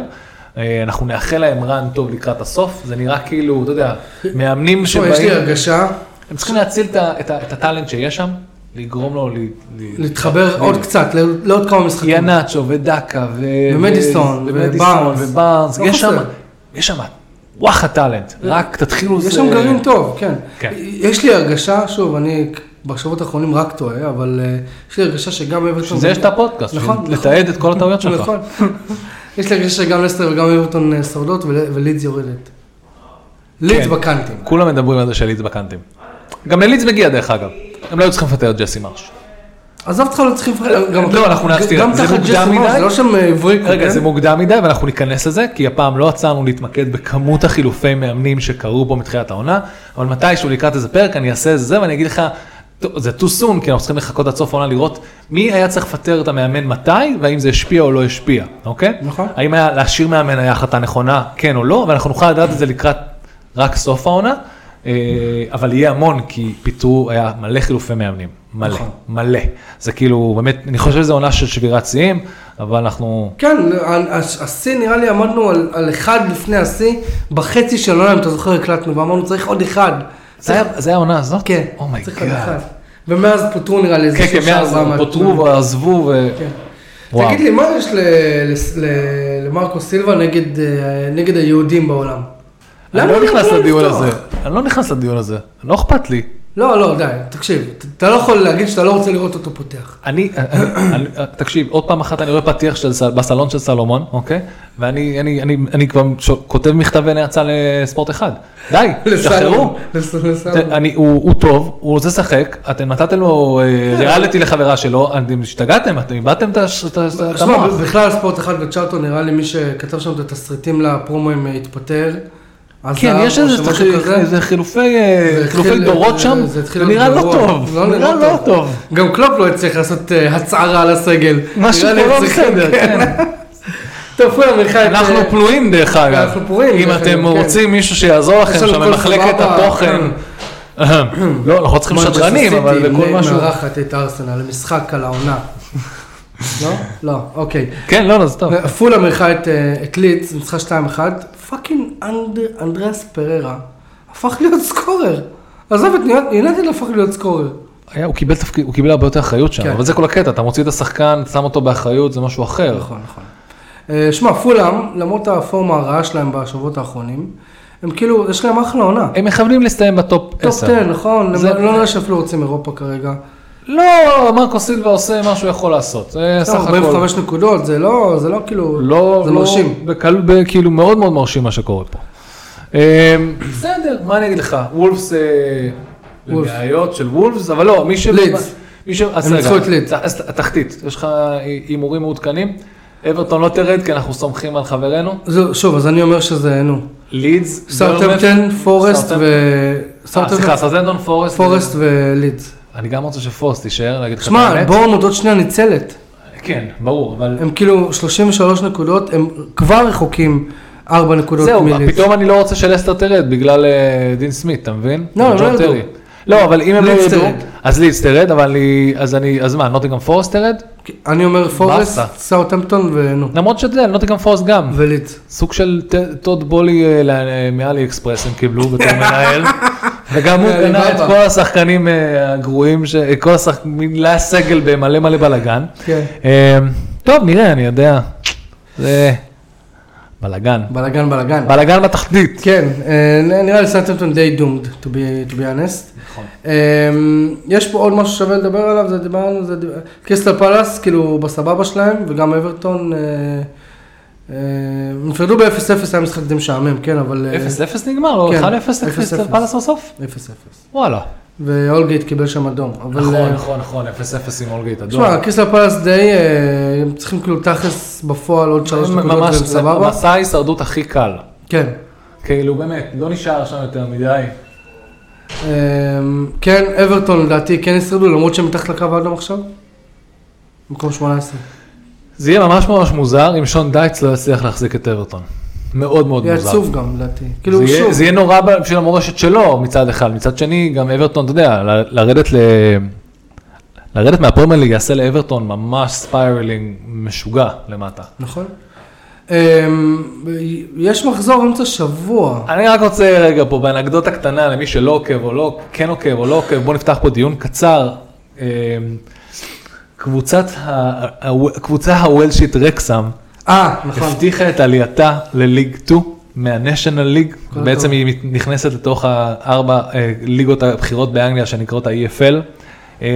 אה, אנחנו נאחל להם רן טוב לקראת הסוף, זה נראה כאילו, אתה יודע, מאמנים
פה
שבאים...
יש לי הרגשה
הם צריכים להציל את, ה- את, ה- את הטאלנט שיש שם, לגרום לו ל... ל- אה,
להתחבר עוד קצת, ל- לעוד כמה משחקים.
כי אנאצ'ו ודקה ו...
ומדיסון,
ו- ומדיסון
ובארנס.
ובארנס,
לא
יש שם,
חסר.
יש שם וואחד טאלנט, רק תתחילו...
יש
זה-
שם גרעין טוב, כן.
אה, כן.
יש לי הרגשה, שוב, אני בשבועות האחרונים רק טועה, אבל אה, יש לי הרגשה שגם אברטון...
בשביל זה יש את הפודקאסט, בשביל
נכון, נכון.
לתעד את כל הטעויות שלך.
נכון. יש לי הרגשה שגם לסטר וגם אברטון אה, שורדות ול- ולידס יורדת. לידס
כן.
בקנטים.
כולם מדברים על זה שלידס בקנטים. גם ללידס מגיע דרך אגב, הם לא היו צריכים לפטר את ג'סי מרש.
עזוב אותך לא צריכים... גם-
לא, אנחנו נעצתי,
גם
זה
תחת
מוקדם
ג'סי מורס,
מדי.
זה לא שהם אה, הבריקו,
רגע,
כן?
זה מוקדם מדי ואנחנו ניכנס לזה, כי הפעם לא עצרנו להתמקד בכמות החילופי מאמנים שקרו פה מתחילת העונה, אבל מתישהו לקראת איזה פרק אני אעשה זה ואני אגיד לך, "טוב, זה too soon, כי אנחנו צריכים לחכות עד סוף העונה לראות מי היה צריך לפטר את המאמן מתי, והאם זה השפיע או לא השפיע, אוקיי?
נכון.
האם היה להשאיר מאמן היה החלטה נכונה, כן או לא, ואנחנו נוכל לדעת את זה לקראת רק סוף העונה, אה, אבל יהיה המון, כי פיטרו, היה מלא חילופי מאמנים, מלא,
נכון.
מלא. זה כאילו, באמת, אני חושב שזו עונה של שבירת שיאים, אבל אנחנו...
כן, ה- ה- השיא נראה לי עמדנו על, על אחד לפני השיא, בחצי של העולם, אם אתה זוכר, הקלטנו ואמרנו צריך עוד אחד.
זה היה- זה היה העונה הזאת?
כן, צריך עוד אחד.
אומייגאד.
ומאז פוטרו נראה לי איזה
Oh כן, כן,
שלושה,
מאז
ארבעה
פוטרו ועזבו ו...
כן.
וואו.
תגיד לי, מה יש ל- לס- ל- למרקו סילבה נגד, אה, נגד היהודים בעולם?
אני
למה
לא
הם
נכנס
יכולים
לדיון
לפתוח?
הזה, אני לא נכנס לדיון הזה, לא אכפת לי.
לא, לא, די, תקשיב, ת- אתה לא יכול להגיד שאתה לא רוצה לראות אותו פותח.
אני, אה, אני- אני- תקשיב, עוד פעם אחת אני רואה פתיח של, סל- בסלון של סלומון, אוקיי? ואני אני, אני, אני כבר ש- כותב מכתבי נאצה לספורט אחד. די, שחררו.
לסלום, לס- לסלום.
אני, הוא, הוא טוב, הוא רוצה לשחק, אתם נתתם לו אה,
כן.
ריאליטי לחברה שלו, אתם השתגעתם, אתם איבדתם את הש- את ה- את
תשמע,
המוח.
בכלל ספורט אחד וצ'ארטו נראה לי מי שכתב שם את התסריטים לפרומואים אה, התפטר.
כן,
עזב,
יש
או
איזה
שמשהו
תחי-
כזה.
איזה חילופי אה,
זה התחיל-
חילופי דורות
זה-
שם,
זה התחיל
זה
להיות
נראה לא
גרוע.
טוב,
לא
נראה לא טוב.
גם קלופ לא הצליח לעשות אה, הצהרה על הסגל.
משהו
נראה לי
פה לא
הם צריכים-
בסדר, כן.
טוב, פולה מלכה את...
אנחנו
אה,
פנויים דרך אגב.
אנחנו פנויים,
אם
דרך
אתם
אגב, כן.
רוצים מישהו שיעזור לכם
יש לנו
שם
כל
במחלקת
סבבה, כן.
התוכן. לא, אנחנו צריכים
מנצ'סטר
שדרנים,
סיטי
אבל בכל משהו.
מארחת את ארסנל למשחק על העונה. לא? לא, אוקיי.
כן, לא, לא, זה טוב.
פולה מריחה את, אה, את ליץ, ניצחה 2-1, פאקינג אנדר- אנדריאס פררה הפך להיות סקורר. עזוב את ניו- יונתן הפך להיות סקורר.
היה- הוא קיבל תפקיד, הוא קיבל הרבה יותר אחריות שם,
כן.
אבל זה כל הקטע, אתה מוציא את השחקן, שם אותו באחריות, זה משהו אחר.
נכון, נכון. אה, שמע, פולאם, למרות הפורמה הרעה שלהם בשבועות האחרונים, הם כאילו, יש להם אחלה עונה.
הם מכוונים להסתיים בטופ
טופ
10.
10, נכון? הם
זה-
לא נראה שאפילו רוצים אירופה כרגע.
לא, מרקו סילבה עושה מה שהוא יכול לעשות, זה סך הכל.
45 נקודות, זה לא, זה לא כאילו,
לא,
לא, זה
לא,
מרשים.
בקל, ב- כאילו מאוד מאוד מרשים מה שקורה פה. אמ, בסדר, מה אני אגיד לך, וולפס, אה,
וולפס.
לבעיות של וולפס, אבל לא, מי ש...
לידס.
מי ש... אז
הם
רגע,
ניצחו את לידס.
אז ת- התחתית, יש לך אי- הימורים מעודכנים? אברטון לא תרד כי אנחנו סומכים על חברנו.
זהו, שוב, אז אני אומר שזה,
לא
נו,
לידס, ברמפ-
סאוטהמפטון, פורסט
סאוטהמפ-
ו...
אה,
סאוטהמפטון,
סליחה, סאוטהמפטון, פורסט.
פורסט ולידס.
כאילו, אני גם רוצה שפורסט תישאר, להגיד לך את
שמע,
האמת.
בורנות עוד שנייה ניצלת.
כן, ברור, אבל...
הם כאילו 33 נקודות, הם כבר רחוקים 4 נקודות
זהו,
מליץ.
פתאום אני לא רוצה שלסטר תרד בגלל אה, דין סמית, אתה מבין?
לא, הם לא
וג'ון
ירדו.
טרי. לא, אבל אם הם לא
לידס
ירדו,
תרד.
אז לידס תרד, אבל אני, אז אני, אז מה, נוטיגם פורסט תרד?
אני אומר פורסט,
באסה. נכון.
סאוטהמפטון ונו,
למרות שאתה יודע, נוטיגם פורסט גם.
וליץ.
סוג של ט- טוד בולי אה, ל- אה, מאלי אקספרס הם קיבלו בתור מנהל, וגם הוא קנה את
מעליבאבא.
כל השחקנים אה, הגרועים, ש- אה, כל השחקנים, מילא סגל במלא מלא בלאגן.
כן.
אה, טוב, נראה, אני יודע. זה בלאגן.
בלאגן בלאגן.
בלאגן בתחתית.
כן, אה, נראה לי סאוטהמפטון די doomed, to be- to be honest.
נכון.
אה, יש פה עוד משהו שווה לדבר עליו, זה דיברנו, זה דיבר... קריסטל פלאס, כאילו, בסבבה שלהם, וגם אברטון, אה, אה, נפרדו ב-0-0, היה משחק די משעמם, כן, אבל... אה,
0-0 נגמר, לא?
כן,
1-0 לקריסטל
0-0.
פלס בסוף?
0-0.
וואלה.
ואולגייט קיבל שם אדום, אבל... אה,
נכון, נכון, נכון, 0-0 עם אולגייט אדום.
תשמע, קריסטל פלאס די, אה, הם צריכים כאילו תכלס בפועל עוד שלוש נקודות,
ממש,
והם
זה
סבבה?
מסע ההישרדות הכי קל.
כן.
כאילו, באמת, לא נשאר שם יותר מדי.
אה, כן, אברטון לדעתי כן ישרדו, למרות שהם מתחת לקו האדום עכשיו. מקום 18.
זה יהיה ממש ממש מוזר אם שון דייטס לא יצליח להחזיק את אברטון. מאוד מאוד
יהיה
מוזר.
עצוב גם, לדעתי.
זה
כאילו,
יהיה-
שוב,
זה יהיה נורא ב- בשביל המורשת שלו מצד אחד, מצד שני גם אברטון, אתה יודע, ל- לרדת ל... לרדת מהפרמייר ליג יעשה לאברטון ממש ספיירלינג משוגע למטה.
נכון. אה, יש מחזור אמצע שבוע.
אני רק רוצה רגע פה באנקדוטה קטנה למי שלא עוקב או לא, כן עוקב או לא עוקב, בוא נפתח פה דיון קצר. אמ, קבוצת ה- ה- הקבוצה הוולשית רקסם
אה, נכון.
הבטיחה את עלייתה לליג 2 מהנשיונל ליג,
כל
בעצם
הכבוד.
היא מת- נכנסת לתוך הארבע אה, ליגות הבכירות באנגליה שנקראות ה-EFL, אמ,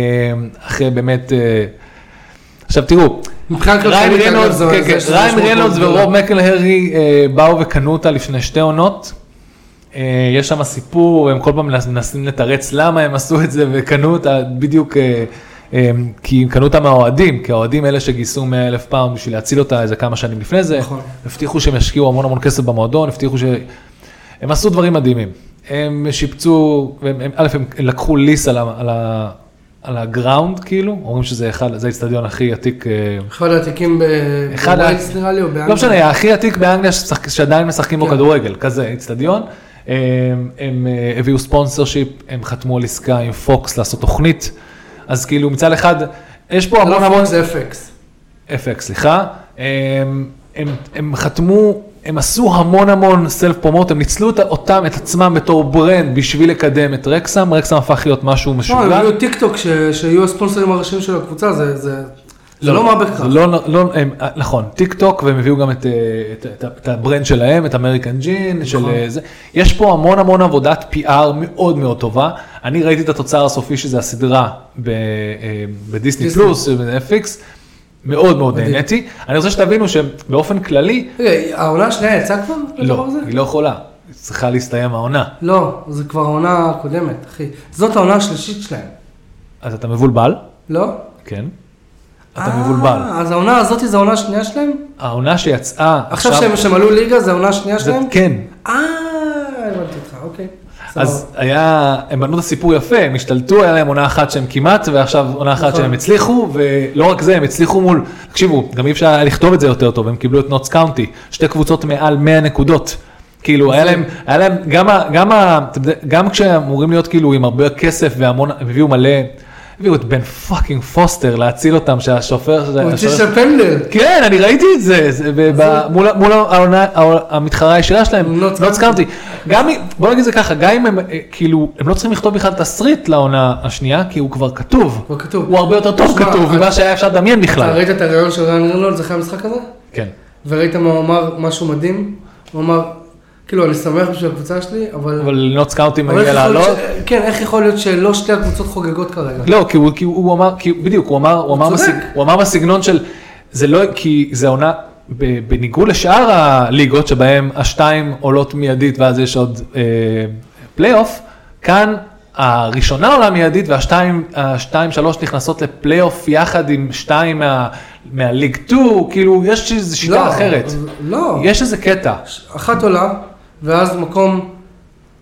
אחרי באמת, אה, עכשיו תראו,
מבחינה
ריין
כלכלית, אגב,
רנולדס,
זה-
כן,
זה-
כן,
זה
ריין
משמעות
רנולדס
מאוד
ורוב
גדולה.
מקלהרי אה, באו וקנו אותה לפני שתי עונות. אה, יש שם סיפור, הם כל פעם מנס- מנסים לתרץ למה הם עשו את זה וקנו אותה בדיוק אה, אה, כי הם קנו אותה מהאוהדים, כי האוהדים אלה שגייסו 100 אלף פעם בשביל להציל אותה איזה כמה שנים לפני זה,
נכון.
הבטיחו שהם ישקיעו המון המון כסף במועדון, הבטיחו ש... הם עשו דברים מדהימים. הם שיפצו, הם, הם, א', הם לקחו ליס על, ה, על, ה, על הגראונד, כאילו, אומרים שזה אחד, זה האיצטדיון הכי עתיק. אה,
אחד העתיקים ב...
אחד
בווייטס
ה-
נראה לי, או באנגליה.
לא משנה, הכי עתיק באנגליה ששחק- שעדיין משחקים בו
כן.
כדורגל, כזה איצטדיון. הם, הם אה, הביאו ספונסר שיפ, הם חתמו על עסקה עם פוקס לעשות תוכנית, אז כאילו מצד אחד, יש פה
זה
המון
לא
המון...
פוקס, זה FX.
FX, סליחה. הם, הם, הם חתמו, הם עשו המון המון סלף פרומוט, הם ניצלו את, אותם, את עצמם בתור ברנד בשביל לקדם את רקסם, רקסם הפך להיות משהו
לא, הם
משוגע.
יהיו טיק טוק, ש- שיהיו הספונסרים הראשיים של הקבוצה, זה- זה זה לא מה בכך.
זה לא, לא, הם, נכון, טיק טוק, והם הביאו גם את, אה, את, את, את הברנד שלהם, את אמריקן ג'ין, של
נכון.
אה, זה. יש פה המון המון עבודת PR מאוד מאוד טובה. אני ראיתי את התוצר הסופי שזה הסדרה ב, אה, בדיסני
דיסני.
פלוס, בנטפליקס, מאוד מאוד
מדהים.
נהניתי. אני רוצה שתבינו שבאופן כללי,
רגע, העונה השנייה יצאה כבר? לדבר
לא,
הזה?
היא לא יכולה, היא צריכה להסתיים העונה.
לא, זה כבר העונה הקודמת, אחי. זאת העונה השלישית שלהם,
אז אתה מבולבל,
לא?
כן, אתה
אה,
מבולבל.
אז העונה הזאת זה העונה השנייה שלהם?
העונה שיצאה
עכשיו שהם- שהם עלו ליגה זה העונה השנייה
זה-
שלהם?
כן,
אה, הבנתי אותך, אוקיי.
אז היה, הם בנו את הסיפור יפה, הם השתלטו, היה להם עונה אחת שהם כמעט, ועכשיו עונה אחת
נכון.
שהם הצליחו, ולא רק זה, הם הצליחו מול, תקשיבו, גם אי אפשר היה לכתוב את זה יותר טוב, הם קיבלו את נוטס קאונטי, שתי קבוצות מעל 100 נקודות. כאילו היה להם, היה להם, גם, ה- גם, ה- אתם יודע, גם כשהם אמורים להיות כאילו עם הרבה כסף והמון, הם הביאו מלא, הביאו את בן פאקינג פוסטר להציל אותם, שהשופר,
סבבה. הוא
השופר-
הוציא של פנדל.
כן, אני ראיתי את זה, זה ב- ב- מול ה- מול העונה- העונה- המתחרה הישירה שלהם,
לא
לא
הסכמתי.
הסכמתי. גם אם, בוא נגיד זה ככה, גם אם הם, אה, כאילו, הם לא צריכים לכתוב בכלל תסריט לעונה השנייה, כי הוא כבר כתוב.
כבר כתוב.
הוא הרבה יותר טוב
תשמע,
כתוב ממה שהיה אפשר לדמיין
אתה
בכלל.
ראית את הראיון של רן רנולדס אחרי המשחק הזה?
כן.
וראית מה הוא אמר, משהו מדהים? הוא אמר, כאילו, אני שמח בשביל הקבוצה שלי, אבל...
אבל לא נוט סקאוטים
אבל איך
מגיע
יכול להיות
לעלות.
ש- כן, איך יכול להיות שלא שתי הקבוצות חוגגות כרגע?
לא, כי הוא, כי הוא הוא אמר, כי, בדיוק, הוא אמר, הוא אמר,
צודק.
בסג, הוא אמר בסגנון של, זה לא, כי זה עונה, ב- בניגוד לשאר הליגות שבהן השתיים עולות מיידית ואז יש עוד אה, פלייאוף, כאן הראשונה עולה מיידית והשתיים, השתיים שלוש נכנסות לפלייאוף יחד עם שתיים מה, מהליג 2, כאילו יש איזו שיטה
לא,
אחרת.
לא.
יש איזה קטע.
אחת עולה, ואז מקום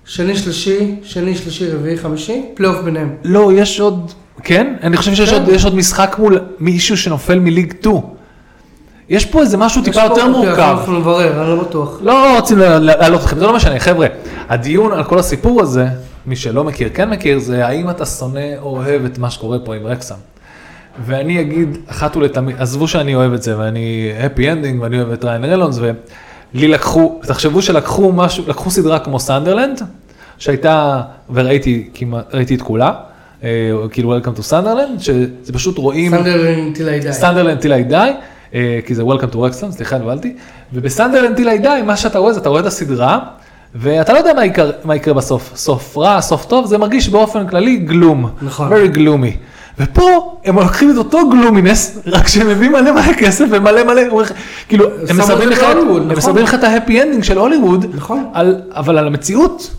שני, שלישי, שני, שלישי, רביעי, חמישי, פלייאוף ביניהם.
לא, יש עוד, כן? אני חושב שיש
כן.
עוד, יש עוד משחק מול מישהו שנופל מליג 2. יש פה איזה משהו טיפה
יש פה-
יותר
אוקיי,
מורכב.
אנחנו נברר, אני לא בטוח.
לא רוצים לה- להעלות אתכם, זה לא משנה, חבר'ה. הדיון על כל הסיפור הזה, מי שלא מכיר, כן מכיר, זה האם אתה שונא או אוהב את מה שקורה פה עם רקסם. ואני אגיד אחת ולתמיד, עזבו שאני אוהב את זה, ואני happy ending, ואני אוהב את ריין רלונס, ולי לקחו, תחשבו שלקחו משהו, לקחו סדרה כמו סנדרלנד, שהייתה, וראיתי כמעט, ראיתי את כולה, אה, כאילו Welcome to סנדרלנד, שזה פשוט רואים...
סנדרלין טילי די.
סנדרלנד טיל איי אה, כי זה Welcome to Rexham, סליחה, נבהלתי. ובסנדרלנד טיל איי מה שאתה רואה זה אתה רואה את הסדרה, ואתה לא יודע מה יקרה, מה יקרה בסוף, סוף רע, סוף טוב, זה מרגיש באופן כללי גלום.
נכון.
Very gloomy. ופה הם לוקחים את אותו גלומינס, רק שהם מביאים מלא מלא כסף ומלא מלא, כאילו, הם
שמו
מסדרים
את זה
לך,
בהוליווד,
הם
נכון.
מסדרים לך את ההפי אנדינג של הוליווד,
נכון.
על, אבל על המציאות.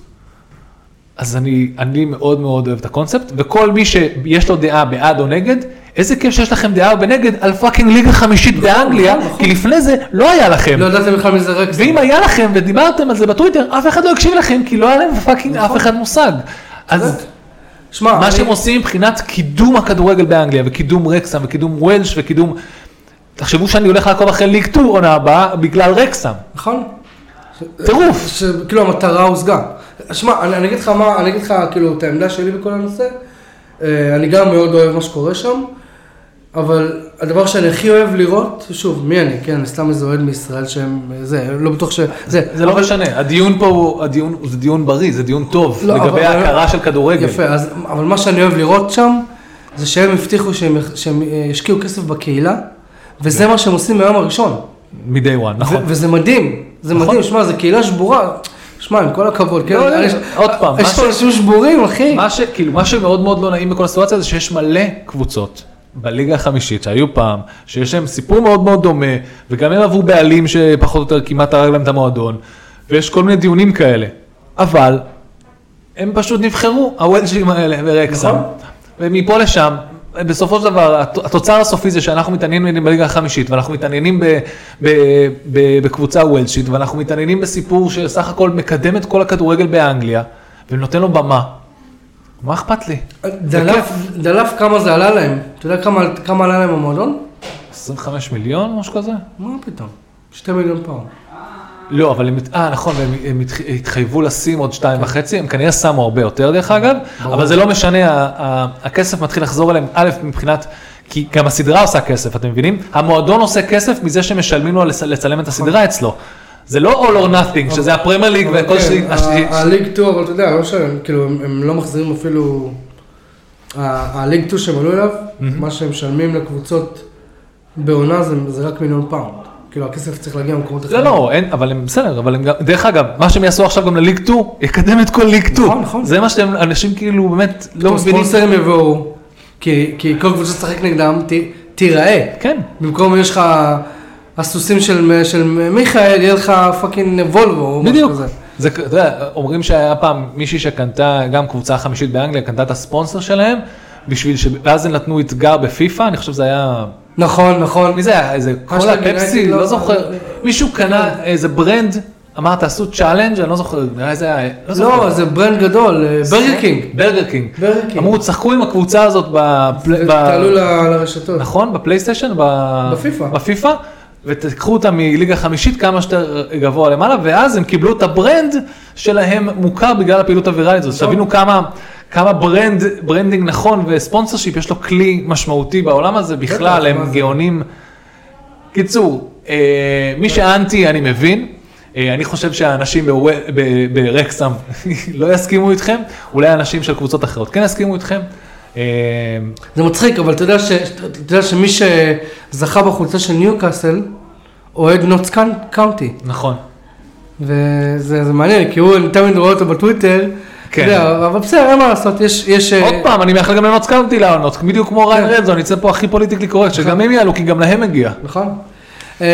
אז אני, אני מאוד מאוד אוהב את הקונספט, וכל מי שיש לו דעה בעד או נגד, איזה כיף שיש לכם דעה בנגד על פאקינג ליגה חמישית באנגליה,
נכון, נכון.
כי לפני זה לא היה לכם.
לא ידעתם בכלל מי זה רקס.
ואם היה לכם ודיברתם על זה בטוויטר, אף אחד לא הקשיב לכם, כי לא היה להם פאקינג
נכון.
אף אחד מושג. אז
שמע,
מה
אני-
שהם עושים מבחינת קידום הכדורגל באנגליה, וקידום רקסם, וקידום וולש, וקידום... תחשבו שאני הולך לעקוב אחרי ליג 2 עונה הבאה בגלל רקסם.
נכון.
טירוף.
שכאילו המטרה הושגה. שמע, אני, אני אגיד לך מה, אני אגיד לך כאילו את העמדה שלי בכל הנושא. אה, אני גם מאוד אוהב מה שקורה שם, אבל הדבר שאני הכי אוהב לראות, שוב, מי אני? כן, אני סתם איזה אוהד מישראל שהם, אה, זה, לא בטוח ש... זה,
זה לא משנה, הדיון פה הוא הדיון, זה דיון בריא, זה דיון טוב,
לא,
לגבי
אבל-
ההכרה של כדורגל.
יפה, אז, אבל מה שאני אוהב לראות שם, זה שהם הבטיחו שהם, יח- שהם אה, ישקיעו כסף בקהילה, וזה מה שהם עושים מהיום הראשון.
מ-day one, כן. נכון.
ו- וזה מדהים, זה
נכון.
מדהים, שמע, זו קהילה שבורה. שמע, עם כל הכבוד, כן,
לא,
נראה לי
לא,
ש-
עוד פעם,
יש
מה
פה
ש-
אנשים שבורים, אחי.
מה, ש, כאילו, מה שמאוד מאוד לא נעים בכל הסיטואציה זה שיש מלא קבוצות בליגה החמישית שהיו פעם, שיש להם סיפור מאוד מאוד דומה, וגם הם עברו בעלים שפחות או יותר כמעט הרג להם את המועדון, ויש כל מיני דיונים כאלה. אבל הם פשוט נבחרו, הוולשים האלה ורקסם,
נכון.
ומפה לשם בסופו של דבר, הת- התוצר הסופי זה שאנחנו מתעניינים בליגה החמישית, ואנחנו מתעניינים ב- ב- ב- בקבוצה וולשית, ואנחנו מתעניינים בסיפור שסך הכל מקדם את כל הכדורגל באנגליה, ונותן לו במה. מה אכפת לי?
דלף, דלף כמה זה עלה להם, אתה יודע כמה, כמה עלה להם המועדון?
25 מיליון, משהו כזה?
מה פתאום? שתי מיליון פעם.
לא, אבל הם, הת- אה, נכון, והם הם התח- התחייבו לשים עוד שתיים וחצי, הם כנראה שמו הרבה יותר דרך אגב,
ברור.
אבל זה לא משנה, ה- ה- הכסף מתחיל לחזור אליהם, א', מבחינת, כי גם הסדרה עושה כסף, אתם מבינים? המועדון עושה כסף מזה שמשלמים לו לצ- לצלם את
נכון.
הסדרה אצלו. זה לא all or nothing, שזה הפרמייר ליג והכל
כן,
שלי,
ה- הליג 2, אבל אתה יודע, לא שהם, כאילו, הם- הם לא מחזירים אפילו... ה- הליג 2 שהם עלו אליו, מה שהם משלמים לקבוצות בעונה זה- זה רק מיליון פאונד. כאילו, הכסף צריך להגיע ממקומות אחרים.
לא, לא, אין, אבל הם בסדר, אבל הם גם, דרך אגב, מה שהם יעשו עכשיו גם לליג 2, יקדם את כל ליג 2.
נכון, נכון.
זה מה שאתם, אנשים כאילו באמת לא
לא
מבינים.
ספונסרים יבואו, כי כי כל קבוצה שתשחק נגדם ת- תיראה.
כן.
במקום יש לך הסוסים של של מיכאל, יהיה לך פאקינג וולבו או משהו
בדיוק.
כזה.
זה, אתה יודע, אומרים שהיה פעם מישהי שקנתה, גם קבוצה חמישית באנגליה, קנתה את הספונסר שלהם, בשביל ש... ואז הם נתנו אתגר בפיפא, אני חושב שזה היה...
נכון, נכון.
מי זה היה? איזה קולה,
יונייטד,
פפסי,
לא-
לא זוכר. מישהו קנה איזה ברנד, אמר תעשו צ'אלנג', אני לא זוכר, נראה איזה היה... זוכר.
לא, זה ברנד גדול, אה, ברגר קינג.
ברגר קינג.
ברגר קינג.
אמרו, תשחקו עם הקבוצה הזאת בפל- ב...
תעלו ל- לרשתות.
נכון? בפלייסטיישן? ב...
בפיפא.
בפיפא, ותקחו אותה מליגה חמישית כמה שיותר גבוה למעלה, ואז הם קיבלו את הברנד שלהם מוכר בגלל הפעילות הוויראלית הזאת. תבינו כמה, כמה ברנד, ברנדינג נכון וספונסר שיפ, יש לו כלי משמעותי בעולם הזה בכלל,
בטח, מה
הם
זה?
גאונים. קיצור, אה, מי שאנטי אני מבין. אה, אני חושב שהאנשים בוו- ב- ברקסם לא יסכימו איתכם, אולי אנשים של קבוצות אחרות כן יסכימו איתכם. אה,
זה מצחיק, אבל אתה יודע, ש... אתה יודע שמי שזכה בחולצה של ניוקאסל, אוהד נוטס קאנ- קאונטי.
נכון.
וזה זה מעניין, כי הוא, אני תמיד רואה אותו בטוויטר.
כן.
כן. אתה יודע, אבל בסדר, אין מה לעשות, יש... יש
עוד
אה,
פעם, אני מאחל גם לנוץ קאונטי לענות, בדיוק כמו ריין
כן.
רמזון, נצא פה הכי פוליטיקלי קורקט, שגם הם יעלו, כי גם להם מגיע.
נכון. אמ,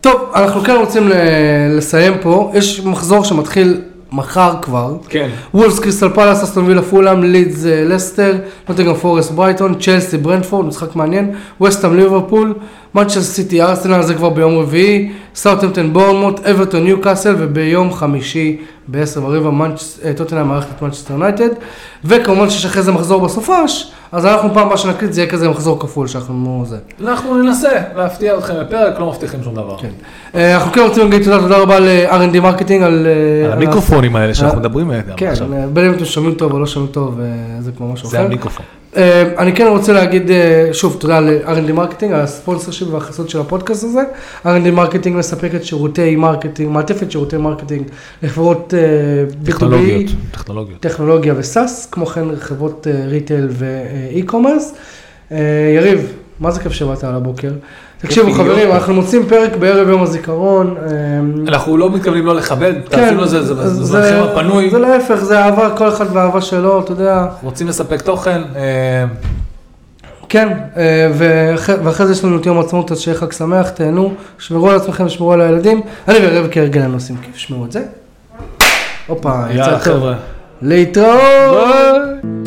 טוב, אנחנו כן רוצים ל- לסיים פה. יש מחזור שמתחיל מחר כבר.
כן.
וולס קריסטל פלאס, אסטון וילה פולאם, לידס אה, לסטר, נוטינגרם פורסט ברייטון, צ'לסי ברנפורד, משחק מעניין, וסטאם ליברפול, מנצ'סטר סיטי ארסנל זה כבר ביום רביעי, סאוטהמפטון בורנמוט, אברטון ניו קאסל וביום חמישי בעשר ורבע מנצ'- אה, טוטנהאם מערכת את מנצ'סטר יונייטד, וכמובן שיש אחרי זה מחזור בסופש, אז אנחנו פעם הבאה שנקליט זה יהיה כזה מחזור כפול שאנחנו לא זה.
אנחנו ננסה להפתיע אתכם בפרק, לא מבטיחים שום דבר.
כן. אה, אנחנו כן רוצים להגיד תודה, תודה רבה ל-R&D מרקטינג על... אה,
על המיקרופונים האלה שאנחנו
אה,
מדברים עליהם
כן,
עכשיו.
אה, בין אם אתם שומעים טוב או לא שומעים טוב, אה, זה כבר משהו אחר.
זה המיקרופון.
אה, אני כן רוצה להגיד אה, שוב תודה ל-R&D מרקטינג על הספונסר שלי והחסות של הפודקאסט הזה. R&D מרקטינג מספקת שירותי מרקטינג, מעטפת שירותי מרקטינג לחברות אה, B2B,
טכנולוגיות, טכנולוגיות.
טכנולוגיה וסאס, כמו כן חברות אה, ריטייל ואי-קומרס. אה, יריב, מה זה כיף שבאת על הבוקר? תקשיבו
להיות
חברים,
פה.
אנחנו מוצאים פרק בערב יום הזיכרון. אה,
אנחנו לא מתכוונים לא לכבד, תעשו לזה, זה-
אז
זה זמנכם הפנוי,
זה להפך, זה אהבה, כל אחד והאהבה שלו, אתה יודע.
רוצים לספק תוכן, אה,
כן, אה, ואח- ואחרי זה יש לנו את יום העצמאות, אז שיהיה חג שמח, תהנו, שמרו על עצמכם, שמרו על הילדים. אני וערב כהרגלנו עושים כיף, שמעו את זה. הופה, יצא
יאללה
טוב.
חבר'ה.
להתראות!
ביי.